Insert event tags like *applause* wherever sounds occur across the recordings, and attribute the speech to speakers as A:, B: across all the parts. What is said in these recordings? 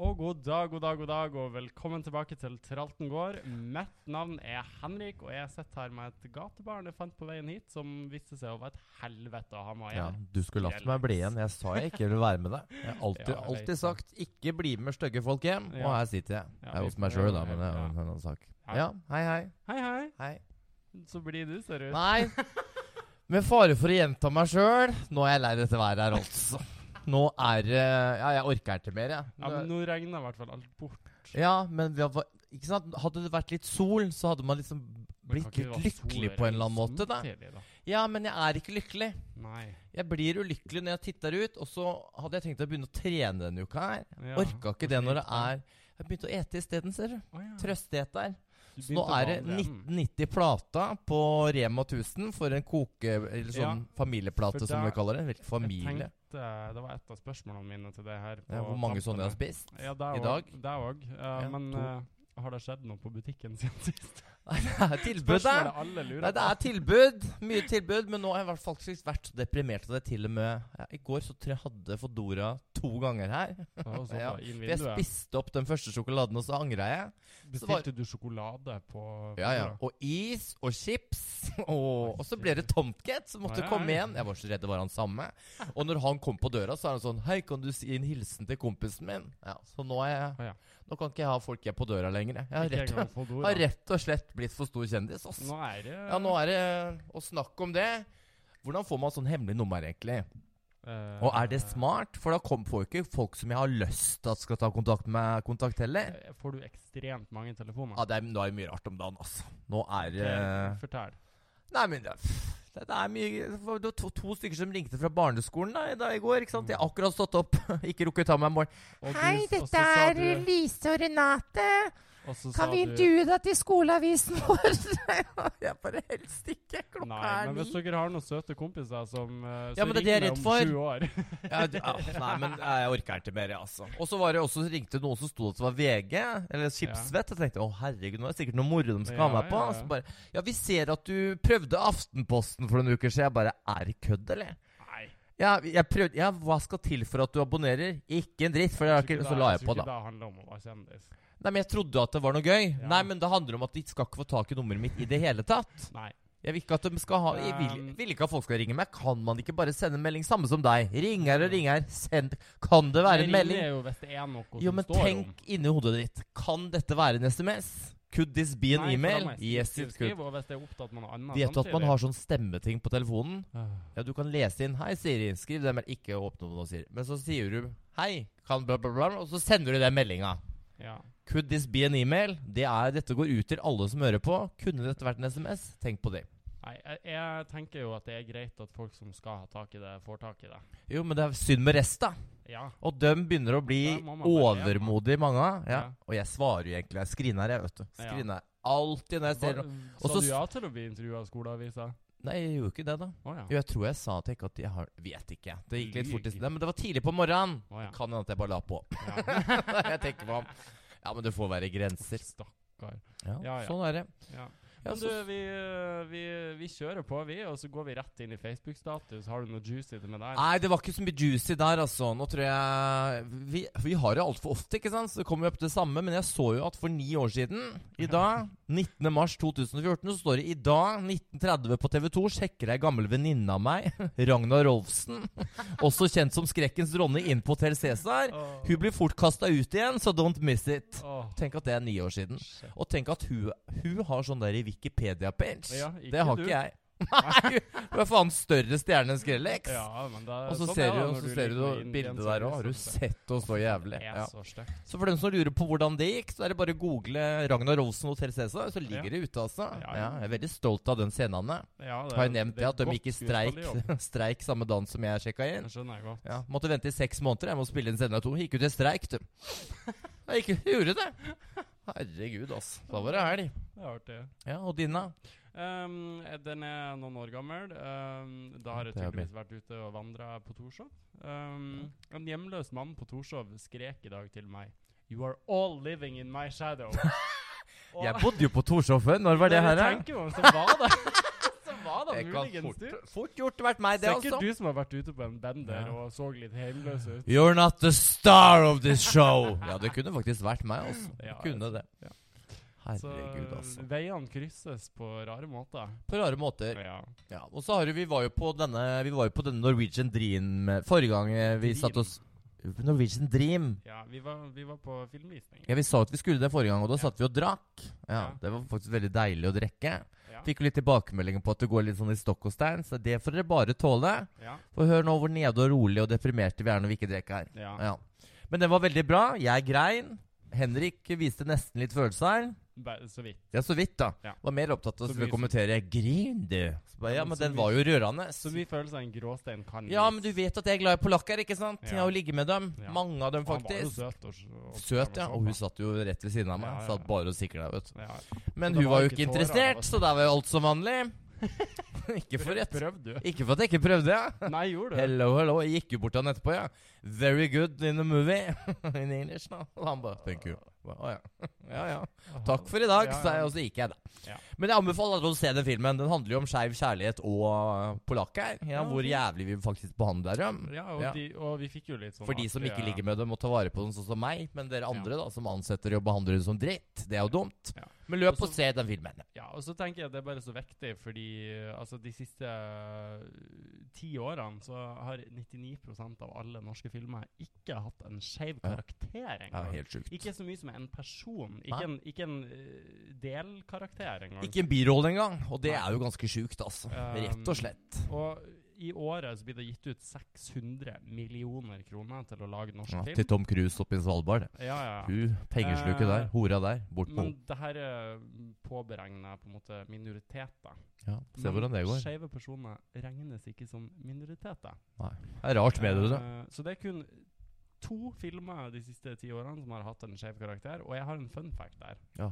A: Og god dag, god dag, god dag, og velkommen tilbake til Tralten gård. Mitt navn er Henrik, og jeg sitter her med et gatebarn jeg fant på veien hit, som viste seg å være et helvete å ha med å
B: Ja,
A: gjøre.
B: du skulle latt meg bli igjen. Jeg sa jeg ikke ville være med deg. Jeg har
A: Ja,
B: alltid,
A: jeg vet det.
B: alltid sagt 'ikke bli med stygge folk hjem', og
A: Ja.
B: her sitter jeg.
A: Ja,
B: Jeg er hos
A: vi-
B: meg sjøl, da, men det
A: ja.
B: er jo en annen sak.
A: Ja.
B: Ja, hei, hei.
A: Hei, hei.
B: Hei.
A: Så blir du, ser du.
B: Nei,
A: *laughs*
B: med fare for å gjenta meg sjøl, nå er jeg lei dette været her, altså. Nå er det Ja, jeg orker ikke mer, jeg.
A: Ja, men nå regner i hvert fall alt bort.
B: Ja, men vi har, ikke sant? Hadde det vært litt sol, så hadde man liksom
A: Det kan
B: blitt
A: ikke
B: litt
A: være
B: lykkelig
A: sol
B: på en eller annen måte. Da.
A: samtidig, da.
B: Ja, men jeg er ikke lykkelig.
A: Nei.
B: Jeg blir ulykkelig når jeg titter ut, og så hadde jeg tenkt å begynne å trene denne uka her.
A: Ja,
B: Orka ikke det
A: hvorfor
B: når det
A: ikke?
B: er Jeg begynte å ete isteden, ser du.
A: Å ja.
B: Trøsteet der.
A: Du
B: Så nå
A: begynte
B: er det
A: å vandre igjen.
B: 1990 plata på Rema 1000 for en koke... Eller sånn familieplate,
A: for
B: som
A: da-
B: vi kaller det. Virkelig
A: Jeg
B: familie.
A: tenkte, eh, det var et av spørsmålene mine til det her.
B: Ja,
A: på
B: hvor mange sånne jeg har
A: tampene.
B: spist? *laughs*
A: Ja, det er
B: i
A: jo-
B: dag?
A: Det òg. Uh,
B: En,
A: men
B: to.
A: eh, har det skjedd noe på butikken siden sist?
B: Nei, det er tilbud, da!
A: Spørsmålet alle lurer
B: Nei, det
A: på.
B: er tilbud. Mye tilbud. Men nå har jeg i hvert fall faktisk vært så deprimert at jeg til og med ja, I går så tror jeg jeg hadde Fodora to ganger her.
A: Å, sånn,
B: Ja,
A: da, inn
B: For jeg
A: vinduet.
B: spiste opp den første sjokoladen, og så angra jeg. så var-
A: Bestilte du sjokolade på
B: Ja, ja.
A: Fodora?
B: Og is og chips. *laughs* Og, og så ble det Tomcat som måtte
A: Nei.
B: komme igjen. Jeg var så redd det var han samme. Og når han kom på døra, så er han sånn Hei, kan du si en hilsen til kompisen min? Ja, Så nå er
A: Å, ja.
B: jeg Nå kan ikke jeg ha folk jeg på døra lenger. Jeg har
A: Ikke
B: rett,
A: engang
B: *laughs*
A: Fodora.
B: har rett og slett blitt for stor kjendis. Ass.
A: Nå er det
B: Ja, nå er det eh, å snakke om det. Hvordan får man sånn hemmelig nummer, egentlig?
A: eh,
B: Og er det smart? For da kom, får jo ikke folk som jeg har lyst til at skal ta kontakt med, kontakt heller.
A: eh, Får du ekstremt mange telefoner?
B: Ja, det er, nå er det mye rart om dagen, altså. Nå er eh, det
A: Ok, Fortell.
B: Nei, men det, pff, det, det er mye det var- Det var to, to stykker som ringte fra barneskolen da, i dag i går. ikke sant? Jeg har akkurat stått opp. *laughs* Ikke rukket å ta meg en *laughs* morgen.
A: Og du-
C: Hei,
A: og så
C: dette
A: sa
C: er
A: du-
C: Lise og Renate.
A: og så sa
C: Kan vi
A: du-
C: intervjue deg til skoleavisen vår?
B: Jeg bare helst ikke. Klokka
A: Nei,
B: er
A: men
B: ni.
A: hvis dere har noen søte kompiser som eh,
B: Ja,
A: så
B: men det er det jeg er
A: ringer om
B: redd for.
A: sju år *laughs*
B: Ja, du- ah, nei, men eh, jeg orker ikke mer, jeg, altså. Og så var det også, så ringte noen som sto at det var VG, eller Skipsvett. Jeg tenkte å herregud, nå er det sikkert noe moro de skal ha
A: Ja,
B: meg på.
A: ja, ja.
B: Så bare, ja, vi ser at du prøvde Aftenposten for noen uker siden. Jeg bare, er det kødd, eller?
A: Nei.
B: Ja, jeg prøvde, ja, hva skal til for at du abonnerer? Ikke en dritt, for det
A: tror
B: har
A: ikke
B: ikke,
A: det-
B: så la jeg
A: tror
B: på,
A: ikke
B: da.
A: Det handler om å være kjendis.
B: Nei, men jeg trodde at det var noe gøy.
A: Ja.
B: Nei, men det handler om at de skal ikke få tak i nummeret mitt i det hele tatt.
A: Nei.
B: Jeg vil ikke at de skal ha Jeg vil,
A: Um.
B: vil ikke at folk skal ringe meg. Kan man ikke bare sende en melding? Samme som deg. Ringer og ringer. Send Kan det være en
A: Men ringer
B: melding?
A: jo hvis det er noe
B: Jo,
A: som
B: men
A: står om.
B: tenk inni hodet ditt. Kan dette være en SMS? Could this be an
A: Nei, for da
B: email?
A: må jeg
B: Yes,
A: skrive-
B: it could.
A: skrive, Og hvis det er opptatt med noe annet
B: Vet du at man har sånn stemmeting på telefonen?
A: har
B: Ja, du kan lese inn 'Hei, Siri'. Skriv det, men ikke åpne opp noe, Siri. Men så sier du 'Hei', kan bla, bla, bla, og så sender du den meldinga.
A: ja.
B: Could this be an email? Det er, dette går ut til alle som hører på. Kunne dette vært en SMS? Tenk på det.
A: Nei, jeg, jeg tenker jo at det er greit at folk som skal ha tak i det, får tak i det.
B: Jo, men det er synd med resta.
A: Ja.
B: Og dem begynner å bli
A: Der må man bare leve, man.
B: overmodige, mange av. Ja.
A: Ja.
B: Og jeg svarer jo egentlig. Jeg screener, jeg, vet du.
A: Ja.
B: Screener alltid når jeg ser
A: Hva-
B: noe.
A: Sa
B: Og så
A: du
B: s-
A: ja til å bli intervjua av skoleavisa?
B: Nei, jeg gjorde ikke det, da.
A: Å ja.
B: Jo, jeg tror jeg sa til ikke at jeg har Vet ikke. Det gikk litt fort i
A: Lyg.
B: sted. Men det var tidlig på morgenen.
A: Å,
B: *laughs*
A: ja.
B: Kan hende at jeg bare la på.
A: ja.
B: jeg tenker på ham. Ja, men det får være grenser.
A: Stakkar.
B: Ja,
A: Ja, ja.
B: Sånn er det.
A: Ja.
B: Ja,
A: Men du,
B: så,
A: vi, vi, vi kjører på, vi, og så går vi rett inn i Facebook-status. Har du noe juicy til meg der?
B: Nei, det var ikke så mye juicy der, altså. Nå tror jeg Vi, vi har det altfor ofte, ikke sant? Så det kommer vi opp til det samme. Men jeg så jo at for ni år siden, i dag, 19. mars 2014, så står det i dag, 1930 på TV 2, sjekker ei gammel venninne av meg, *laughs* Ragna Rolfsen, *laughs* også kjent som skrekkens dronning, inn på Hotell Cæsar.
A: Åh.
B: Hun blir fort kasta ut igjen, så don't miss it.
A: Åh,
B: Tenk at det er ni år siden.
A: shit.
B: Og tenk at hun, hun har sånn der i Wikipedia-page.
A: Ja, ikke
B: det har
A: du.
B: ikke jeg. *laughs* Nei, hun er faen større stjerne enn Skrellex.
A: Ja, men da,
B: Og så
A: sånn
B: ser
A: er det
B: du, og
A: når
B: så ser du
A: ligger med
B: bildet
A: indienser,
B: der òg. Har du
A: liksom.
B: sett oss så jævlig?
A: Det er
B: Ja.
A: så stygt.
B: Så for dem som lurer på hvordan det gikk, så er det bare å google Ragnar Olsen Hotell Cæsar, så ligger
A: Ja.
B: det ute, altså.
A: Ja,
B: Ja,
A: ja.
B: jeg er veldig stolt av den scenen.
A: Ja, det
B: Har jeg
A: er-
B: nevnt
A: er
B: det, at de
A: godt
B: gikk i streik,
A: skuespillerjobb.
B: *laughs* streik samme dagen som jeg sjekka inn?
A: Det skjønner jeg godt.
B: Ja, Måtte vente i seks måneder. Jeg må spille inn sending av to. Gikk ut i streik,
A: *laughs*
B: du. Jeg gikk, gjorde det. Herregud, altså. Da var det helg.
A: Det er artig.
B: Ja, og dine?
A: Um, eh, den er noen år gammel. Um, da har jeg
B: Det er min.
A: tydeligvis vært ute og vandra på Torshov. Um, en hjemløs mann på Torshov skrek i dag til meg You are all living in my
B: *laughs*
A: shadow.
B: Jeg bodde jo på Torshov før. Når var det her? da?
A: Tenker man, så var det. *laughs* var da
B: Jeg kan
A: muligens
B: fort,
A: du.
B: fort gjort vært meg, det altså.
A: Sikkert
B: også.
A: du som har vært ute på en bender
B: Ja.
A: og så litt heimløs ut.
B: You're not the star of this show! *laughs* Ja, det kunne faktisk vært meg, altså. Det
A: Ja,
B: kunne det.
A: ja. Så
B: Herregud, altså.
A: veiene krysses på rare måter.
B: På rare måter.
A: Ja.
B: Ja, og så har du, vi var jo på denne Vi var jo på denne Norwegian Dream eh, forrige gang eh, vi
A: Dream.
B: satt oss Norwegian Dream.
A: Ja, vi var, vi var på filmvisning.
B: Ja, Vi sa at vi skulle det forrige gang, og da
A: Ja.
B: satt vi og drakk. Ja,
A: Ja.
B: Det var faktisk veldig deilig å drikke.
A: Ja.
B: Fikk jo litt tilbakemeldinger på at det går litt sånn i stokk og stein, så det får dere bare tåle.
A: Ja.
B: For hør nå hvor nede og rolig og deprimerte vi er når vi ikke drikker her.
A: ja.
B: Ja. Men den var veldig bra. Jeg grein. Henrik viste nesten litt følelser.
A: Bare så vidt.
B: Ja, så vidt, da.
A: Ja.
B: Var mer opptatt av
A: Så
B: å skulle
A: mye-
B: kommentere 'grin, du'. Så bare,
A: Ja,
B: ja,
A: men
B: men
A: så
B: den
A: mye-
B: var jo rørende.
A: Så mye følelse av en gråstein kan
B: Ja,
A: gis.
B: men du vet at jeg er glad i polakker, ikke sant?
A: Ja.
B: Jeg har jo ligget med dem.
A: Ja.
B: Mange av dem,
A: Og Han var jo
B: faktisk.
A: søt. Og, og, sånn, altså.
B: Søt, ja. Og hun satt jo rett ved siden
A: Ja,
B: av meg.
A: ja,
B: Satt
A: ja.
B: bare og sikla, vet du.
A: ja.
B: Men
A: det
B: hun
A: var
B: var jo
A: ikke
B: ikke
A: tårer,
B: interessert,
A: altså.
B: så der var jo alt som vanlig. *laughs* Ikke for et *laughs*
A: Prøvde du?
B: Ikke for at jeg ikke prøvde, ja.
A: Nei, gjorde du?
B: Hello, hello. Jeg gikk jo bort til han etterpå, ja. Very good in the movie. *laughs* in English, nå. Og han bare Thank you. Ba, Å ja. ja, ja. Takk for i dag,
A: Ja,
B: sa
A: ja.
B: jeg, og så gikk jeg, da.
A: Ja.
B: Men jeg anbefaler alle å se den filmen. Den handler jo om skeiv kjærlighet og uh, polakker. Ja,
A: Ja,
B: hvor
A: fint.
B: jævlig vi faktisk behandler dem.
A: Ja, og,
B: Ja.
A: De, og vi fikk jo litt sånn
B: For de som ikke ligger med dem og tar vare på dem, sånn som meg. Men dere andre, da, som ansetter og behandler dem som dritt. Det er jo dumt.
A: Ja.
B: Men løp
A: Og så-
B: og se den filmen.
A: Ja, og så tenker jeg at det er bare så viktig, fordi eh, altså, de siste eh, ti årene så har 99 av alle norske filmer ikke hatt en skeiv
B: Ja.
A: karakter
B: Ja,
A: engang.
B: helt sjukt.
A: Ikke så mye som en person,
B: Nei.
A: ikke en, ikke en eh, delkarakter engang.
B: Ikke en birolle engang. Og det
A: Nei.
B: er jo ganske sjukt, altså.
A: Um,
B: Rett og slett.
A: Og i året så blir det gitt ut 600 millioner kroner til å lage norsk
B: Ja, til
A: film.
B: Tom Cruise oppe i Svalbard.
A: Ja, ja, ja.
B: Hun pengesluket der.
A: Eh,
B: Hora der. Bort med
A: Men
B: henne.
A: det her eh, påberegner på en måte minoriteter.
B: Ja, se
A: Men
B: hvordan det går.
A: Skeive personer regnes ikke som minoriteter.
B: Det er rart med det, du.
A: Eh, så det er kun to filmer de siste ti årene som har hatt en skeiv karakter, og jeg har en fun fact der.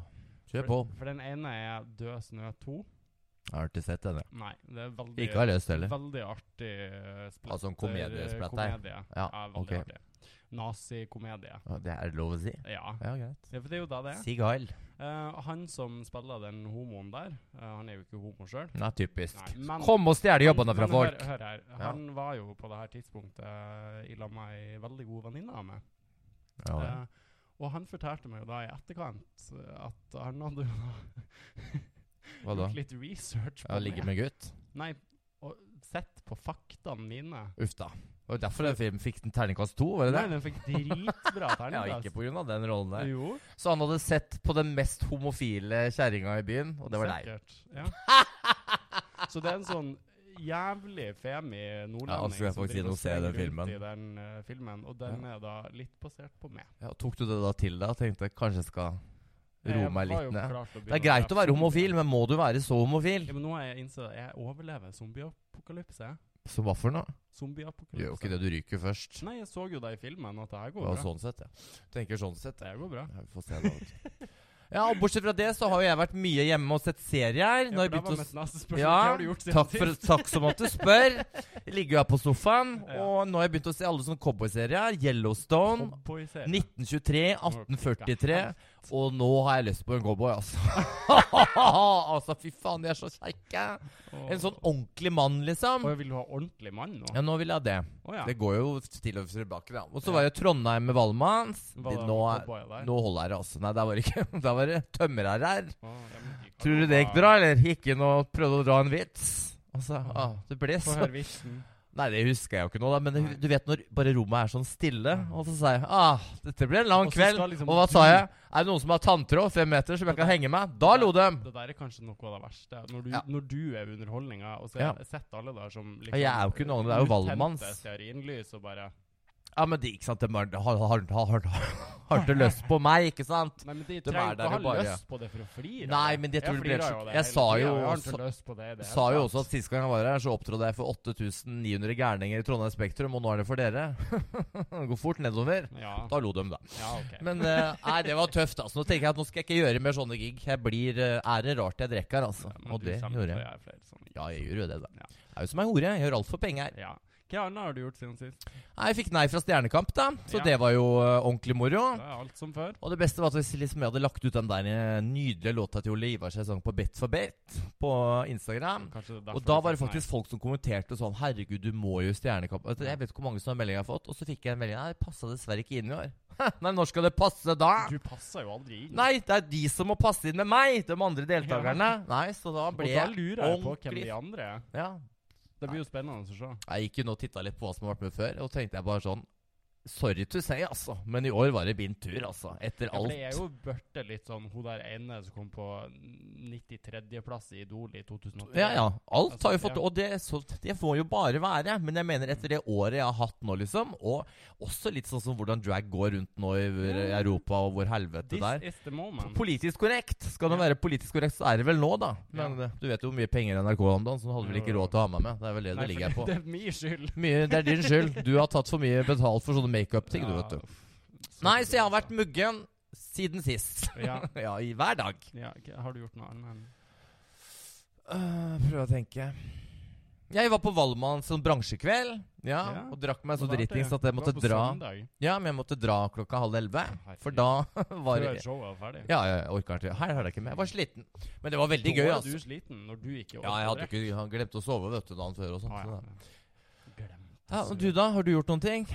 B: Kjør på.
A: for, for den ene er Død snø 2.
B: Jeg har ikke sett denne.
A: Nei, det er veldig
B: Ikke har lest heller.
A: Veldig artig eh, splatter,
B: Altså en komediesplatter.
A: komedie. Ja,
B: Ja,
A: veldig
B: ok.
A: artig. Nazikomedie.
B: Ja, Det er lov å si.
A: Ja.
B: Ja, greit.
A: ja, for det er jo da det er.
B: Sig Heil.
A: Eh, han som spiller den homoen der, eh, han er jo ikke homo sjøl.
B: Nei, typisk.
A: Nei, men-
B: Kom og stjel jobbene
A: Men-
B: fra
A: men
B: folk.
A: Hør, hør her.
B: Ja.
A: Han var jo på det her tidspunktet eh, i lag med ei veldig god venninne av meg.
B: Ja, ja.
A: Eh, og han fortalte meg jo da i etterkant eh, at han hadde jo
B: Hva da?
A: gjort litt research på
B: Ja, Ligge med gutt?
A: Nei, og sett på faktaene mine.
B: Uff da. Det var derfor den filmen fikk den terningkast to, var det det?
A: Nei, den fikk dritbra
B: *laughs* Ja,
A: terningkast.
B: ikke på grunn av den rollen der.
A: Jo,
B: Så han hadde sett på den mest homofile kjerringa i byen, og det var deg.
A: sikkert. Ja. Så det er en sånn jævlig femi
B: Ja,
A: nordlending
B: altså, jeg får ikke si noe å se den
A: springer rundt
B: filmen.
A: i den eh, filmen, og den er da litt basert på meg.
B: Ja, tok du det da til deg og tenkte kanskje jeg skal roe
A: Jeg
B: meg
A: var
B: litt
A: jo
B: ned?
A: klar til
B: Det er
A: begynne
B: greit
A: drepe
B: å være
A: zombier.
B: homofil, men må du være så homofil?
A: Ja, men nå har jeg innsett at jeg overlever zombieapokalypse.
B: Så hva for noe?
A: Zombieapokalypse.
B: Gjør jo ikke det, du ryker først.
A: Nei, jeg så jo det i filmen, at det her går
B: Ja,
A: bra.
B: sånn sett, ja. Tenker sånn sett, ja.
A: Det går bra.
B: Ja, Vi får se da. vet du. Ja, og bortsett fra det så har jo jeg vært mye hjemme og sett serier. Nå har
A: for
B: jeg
A: det
B: begynt å
A: var mitt neste spørsmål.
B: Ja,
A: Hva har du gjort siden
B: takk, for,
A: sist?
B: takk som at du
A: *laughs*
B: spør. Jeg ligger jo her på sofaen,
A: Ja.
B: og nå har jeg begynt å se alle sånne cowboyserier. Yellowstone,
A: Cowboyserie.
B: 1923, 1843.
A: Å,
B: Og nå har jeg lyst på en cowboy,
A: *laughs*
B: altså. *laughs* altså, fy faen, de er så kjekke.
A: Å.
B: En sånn ordentlig mann, liksom.
A: Å, vil du ha ordentlig mann nå?
B: Ja, nå vil jeg det.
A: Å ja.
B: Det går jo til og tilbake, da. Og så
A: Ja.
B: var jeg i Trondheim med Valmans.
A: Var det
B: Nå,
A: noen
B: er-
A: cowboyer der?
B: nå holder jeg det, altså. Nei, der var det ikke Der var det tømrer her.
A: Å, ja, men de kan
B: Tror
A: jo
B: du det gikk
A: bare-
B: bra, eller? Gikk inn og prøvde å dra en vits. Og så,
A: Ja.
B: ah, det ble
A: Få
B: så
A: høre vitsen.
B: Nei, det husker jeg jo ikke nå, da. Men
A: Nei.
B: det, du vet når bare rommet er sånn stille, og så sa jeg ah, dette blir en lang
A: Og så
B: kveld.
A: skal liksom
B: Og hva
A: du-
B: sa jeg? Er det noen som har tanntråd fem meter som jeg kan henge med? *laughs* Da lo de!
A: Det der er kanskje noe av det verste. Når du,
B: Ja.
A: når du er underholdninga, og så
B: Ja.
A: er- sitter alle der som
B: jeg er jo ikke noen, det er jo Valmans.
A: uttente Stearinlys og bare
B: Ja, men de, ikke sant, de har, har, har, har, har, har ikke lyst på meg, ikke sant?
A: Nei, men de
B: De
A: trenger
B: er der
A: ikke å ha
B: jo bare-
A: lyst på det for å flire. av
B: Nei, men jeg tror det blir
A: flirer
B: helt
A: jo
B: sjukt.
A: det
B: Jeg
A: hele
B: sa
A: tiden,
B: jo
A: og Jeg har
B: også-
A: ikke lyst på det i det
B: Sa
A: hele
B: jo
A: tatt.
B: også at sist gang jeg var her, så opptrådte jeg for 8900 gærninger i Trondheim Spektrum, og nå er det for dere. *laughs* Det går fort nedover.
A: Ja,
B: Da lo de, da.
A: ja ok.
B: Men eh, nei, det var tøft, altså. Nå tenker jeg at nå skal jeg ikke gjøre mer sånne gig. Jeg blir eh, Er det rart jeg drikker, altså?
A: Ja, men
B: Og
A: du
B: det
A: kommer til
B: gjorde
A: å
B: jeg.
A: gjøre flere sånne.
B: Ja, jeg gjør jo det, da.
A: Ja.
B: Jeg er jo som ei hore. Jeg gjør alt for penger.
A: Ja. Hva annet har du gjort siden sist?
B: Nei, jeg fikk nei fra Stjernekamp, da, så
A: Ja.
B: det var jo eh, ordentlig moro.
A: Det er alt som før.
B: Og det beste var at hvis liksom jeg hadde lagt ut den der eh, nydelige låta til Ole Ivar sesong på Bet for Bet på Instagram
A: Kanskje det er derfor
B: og
A: du
B: da var det
A: sa nei.
B: faktisk folk som kommenterte sånn Herregud, du må jo i Stjernekamp. Altså, Jeg vet ikke hvor mange sånne meldinger jeg har fått. Og så fikk jeg en melding Nei, det passa dessverre ikke inn i år. *laughs* Nei, når skal det passe da?
A: Du passer jo aldri inn.
B: Nei, det er de som må passe inn med meg! De andre deltakerne. Nei, så da
A: og
B: ble
A: da lurer jeg på hvem
B: ordentlig-
A: de andre er.
B: Ja.
A: Det blir jo spennende å se.
B: Jeg gikk jo nå og titta litt på hva som har vært med før, og tenkte jeg bare sånn Sorry to say, altså, men i år var det min tur, altså. Etter
A: Ja, for
B: alt.
A: det er jo børte litt sånn hun der ene som kom på 93.-plass i Idol i 2008.
B: Ja, ja. Alt
A: Altså,
B: har jo fått
A: ja.
B: Og det, så, det får jo bare være. Men jeg mener etter det året jeg har hatt nå, liksom, og også litt sånn som hvordan drag går rundt nå i i Europa, og hvor helvete
A: This
B: det er.
A: is the moment.
B: Politisk korrekt! Skal det
A: Ja.
B: være politisk korrekt, så er det vel nå, da. Men
A: Ja.
B: eh, du vet jo hvor mye penger NRK har om dagen, så du hadde vel ikke
A: Jo, jo.
B: råd til å ha meg med. Det er vel det
A: Nei,
B: det
A: for
B: ligger her på.
A: *laughs* Det er min skyld.
B: Mye, det er din skyld. Du har tatt for mye betalt for sånne makeup-ting, du, vet du. Nei, så jeg har vært muggen siden sist.
A: ja,
B: *laughs* ja, i hver dag.
A: ja, ok, Har du gjort noe annet enn
B: Øh, prøv å tenke. Jeg var på Valmann som bransjekveld. Ja,
A: Ja.
B: Og drakk meg så
A: Det var
B: dritings
A: artig.
B: at jeg måtte
A: Det var på
B: dra.
A: Søndag,
B: Ja, men jeg måtte dra klokka halv elleve.
A: herregud.
B: For da *laughs* var
A: før
B: det
A: showet var ferdig.
B: Ja, jeg orka ikke. Her har jeg ikke med. Jeg var sliten. Men det var veldig
A: Da
B: gøy.
A: var
B: altså
A: du sliten når du ikke
B: Ja, jeg hadde jo ikke sånn. jeg hadde glemt å sove vet du, dagen før. og sånt
A: Å,
B: så
A: ja.
B: da.
A: Glemt.
B: ja, og Du, da? Har du gjort noen
A: *laughs*
B: ting?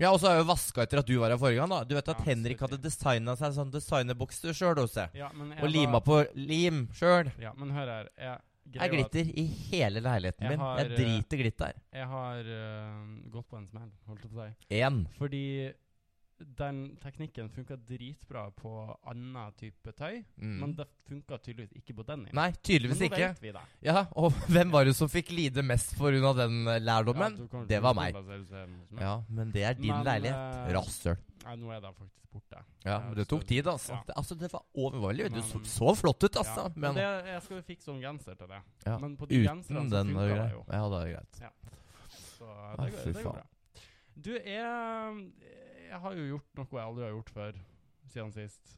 B: Ja, og så har jeg jo vaska etter at du var her forrige gang. da Du vet at
A: Ja,
B: Henrik hadde designa seg sånn designerbukser sjøl,
A: Ja, men jeg
B: og lima
A: var-
B: på lim sjøl.
A: Ja, men hør her. Jeg,
B: Det
A: greia er
B: er
A: at
B: glitter i hele leiligheten
A: Jeg
B: min.
A: har,
B: Jeg eh,
A: eh,
B: driter glitter.
A: jeg har øh, gått på en smell, holdt jeg på å si.
B: Én.
A: Fordi den teknikken funka dritbra på annen type tøy,
B: Mm.
A: men det funka tydeligvis ikke på denim.
B: Nei, tydeligvis
A: Men nå
B: ikke.
A: vet vi det.
B: Ja, Og *laughs* hvem var det som fikk lide mest pga. den eh,
A: Ja,
B: lærdommen?
A: du kan jo
B: det
A: ikke
B: var meg.
A: kompensere hos meg.
B: Ja, men det er din
A: Men,
B: leilighet.
A: eh,
B: Rasshøl.
A: Nei, nå er det faktisk borte.
B: Ja,
A: ja,
B: men det tok
A: så-
B: tid, altså.
A: ja.
B: Det, altså, det var overveldelig. Du
A: Men-
B: så, så flott ut, altså.
A: Ja,
B: Men
A: det, jeg skal jo fikse sånn genser til det.
B: Ja,
A: Men på de genserne så
B: uten den
A: funka
B: var det
A: det
B: greit.
A: jo.
B: Ja, det er greit.
A: Så det, går,
B: fy
A: det går
B: faen.
A: bra. Du, jeg, jeg har jo gjort noe jeg aldri har gjort før siden sist.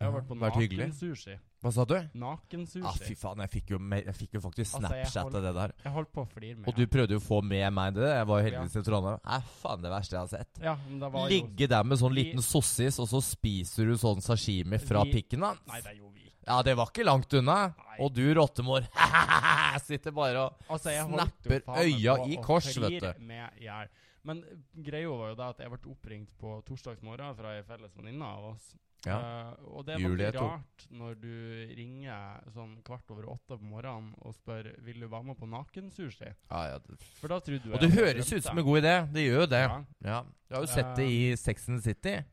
A: Jeg har
B: Ja,
A: vært på
B: vært hyggelig.
A: nakensushi.
B: Hva sa du?
A: Nakensushi.
B: Ja, fy faen. Jeg fikk jo, me- jeg fikk jo faktisk
A: Altså, jeg
B: Snapchat av
A: holdt-
B: det der.
A: jeg holdt på å flire med
B: Og du
A: det.
B: prøvde jo å få med meg det. Jeg var jo heldigvis i Trondheim. Nei, faen, det verste jeg har sett.
A: ja, men det var jo
B: Ligge der med sånn
A: Vi-
B: liten sossis, og så spiser du sånn sashimi fra
A: Vi-
B: pikken hans.
A: Nei, det gjorde vi ikke.
B: Ja, det var ikke langt unna.
A: Nei.
B: Og du, rottemor, *laughs* sitter bare og
A: Altså, jeg holdt jo
B: Snapper
A: faen meg
B: øya
A: på
B: i
A: å
B: kors,
A: flire
B: vet du.
A: Med hjel. Men eh, greia var jo det at jeg ble oppringt på torsdagsmorgen fra ei felles venninne av oss.
B: Ja.
A: Eh, og det er
B: Julie
A: veldig
B: to.
A: rart når du ringer sånn kvart over åtte på morgenen og spør Vil du være med på nakensushi.
B: ja, ja. det-
A: For da trodde du
B: Og det høres ut som en god idé. Det gjør jo det.
A: Ja. Eh.
B: Ja. Du har jo sett det i Sex and the City.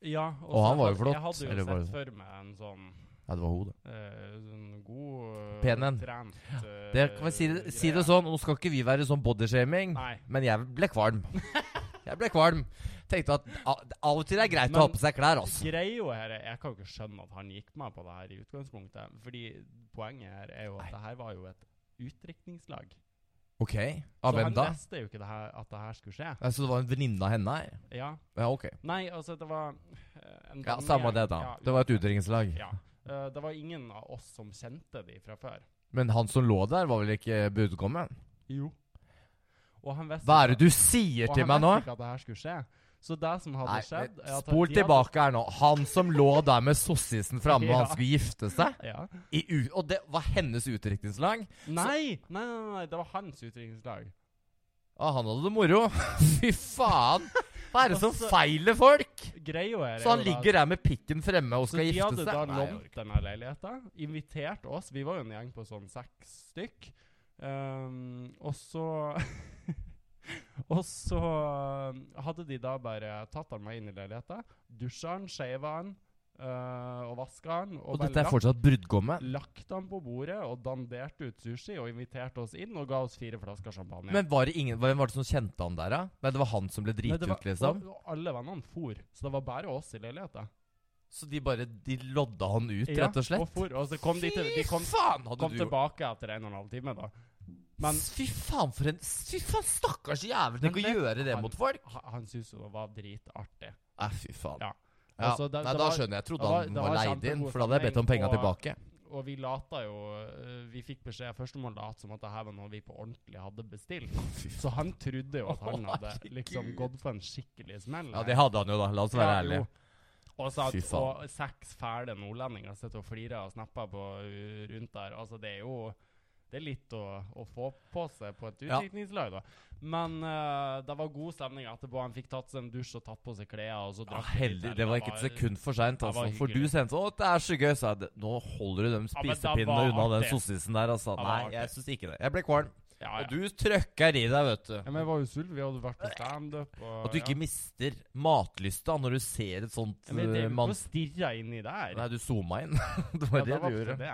A: ja
B: Og
A: så
B: han var jo
A: hadde-
B: flott,
A: Jeg hadde jo
B: eller var
A: sett for meg en sånn,
B: Ja, det var hodet.
A: eh, sånn god eh,
B: Pen en.
A: Trent eh,
B: Det, kan vi si, det- si det
A: greie.
B: sånn, nå skal ikke vi være sånn bodyshaming,
A: Nei.
B: men jeg
A: *laughs*
B: ble kvalm. Jeg ble kvalm. Tenkte at a- av og til er det greit
A: Men-
B: å ha på seg klær, altså.
A: Greia her er Jeg kan jo ikke skjønne at han gikk med på det her i utgangspunktet. Fordi poenget her er jo at det her var jo et utdrikningslag.
B: Ok. Av
A: så
B: hvem
A: han
B: da?
A: visste jo ikke det her, at det her skulle skje.
B: Ja, Så det var en venninne av henne her?
A: Ja.
B: Ja, ok.
A: Nei, altså, det var eh, en
B: Ja,
A: vennegjeng.
B: Samme det, da.
A: Ja,
B: Det var et
A: uansett.
B: utdrikningslag.
A: Ja. Eh, det var ingen av oss som kjente de fra før.
B: Men han som lå der, var vel ikke budkommen?
A: Jo. Og han visste
B: Hva er det du sier til meg nå?
A: Og han visste ikke at det her skulle skje. Så det som hadde
B: Nei,
A: skjedd er
B: men
A: at
B: Spol
A: de
B: tilbake her nå. Han som lå der med sossisen
A: *laughs*
B: framme,
A: Ja.
B: han skulle gifte seg.
A: Hadde, ja.
B: I u og det var hennes utdrikningslag.
A: nei, nei, nei, nei, det var hans utdrikningslag.
B: Og han hadde det moro. *laughs* Fy faen! Hva er det som
A: Altså-
B: feiler folk?
A: Greia her
B: Så han ligger der med pikken fremme og
A: og
B: skal gifte
A: Så de hadde
B: seg?
A: da
B: Nei,
A: lånt denne leiligheten, invitert oss. Vi var jo en gjeng på sånn seks stykk. Ehm, og så *laughs* Og så um, hadde de da bare tatt han med inn i leiligheten, dusja han, shava han eh, og vaska han. Og,
B: og
A: bare
B: dette er
A: lagt-
B: fortsatt brudgomme.
A: lagt han på bordet og danderte ut sushi og inviterte oss inn og ga oss fire flasker champagne.
B: Men var det ingen, hvem var det som kjente han der, da? Nei, det var han som ble
A: Nei, det var-
B: dritjuk, liksom?
A: og- og Alle vennene for, så det var bare oss i leiligheten.
B: Så de bare de lodda han ut,
A: Ja,
B: rett og
A: Og,
B: slett?
A: for, og så kom de, til, de kom,
B: Fy faen! Hadde
A: kom
B: du gjort
A: tilbake etter en og en halv time, da. Men
B: Fy faen, for en Fy faen, stakkars jævel! Tenk å
A: Men det-
B: gjøre det
A: han-
B: mot folk!
A: ha- han syntes jo det var dritartig.
B: Nei, fy faen.
A: Ja.
B: Ja.
A: Altså, det-
B: Nei,
A: det
B: da
A: var-
B: skjønner jeg. Jeg
A: det
B: trodde
A: var-
B: han
A: det
B: var
A: var
B: leid inn,
A: kjempegod
B: for da hadde jeg bedt om
A: stemning,
B: penga
A: og-
B: tilbake.
A: Og og vi lata jo eh, Vi fikk beskjed Førstemann lot som at det her var noe vi på ordentlig hadde bestilt. Så han trodde jo at
B: *laughs*
A: han hadde liksom gått på en skikkelig smell.
B: Ja,
A: her.
B: det hadde han jo, da. La oss være
A: Ja, jo.
B: ærlige.
A: Og, så
B: Fy
A: at,
B: faen.
A: og seks fæle nordlendinger sitter og flirer og snapper på uh, rundt der. Altså, det er jo det er litt å, å få på seg på et
B: Ja.
A: utdrikningslag, da. Men eh, det var god stemning etterpå. Han fikk tatt seg en dusj og tatt på seg klær. Og så
B: Ja,
A: drakk vi litt
B: heldig.
A: øl.
B: Det var ikke et sekund for seint.
A: det
B: Altså.
A: var
B: For du
A: hyggelig.
B: sendte 'Å, det er så gøy', sa jeg. «Det- Nå holder du de
A: men det
B: spisepinnene
A: var
B: unna den
A: artig.
B: sossisen der, altså.
A: Det var
B: Nei,
A: artig.
B: jeg syns ikke det. Jeg ble kvalm.
A: Ja, ja.
B: Og du trøkker i deg, vet
A: ja,
B: du.
A: men jeg var jo sulten. Vi hadde vært på standup. og-
B: At du ikke
A: ja. mister
B: mister matlysta når du ser et sånt
A: Jeg vet
B: eh,
A: ikke,
B: mann...
A: du stirra inni der.
B: Nei, du zooma inn. *laughs* det var
A: Ja,
B: det
A: det var
B: du gjorde.
A: ofte det.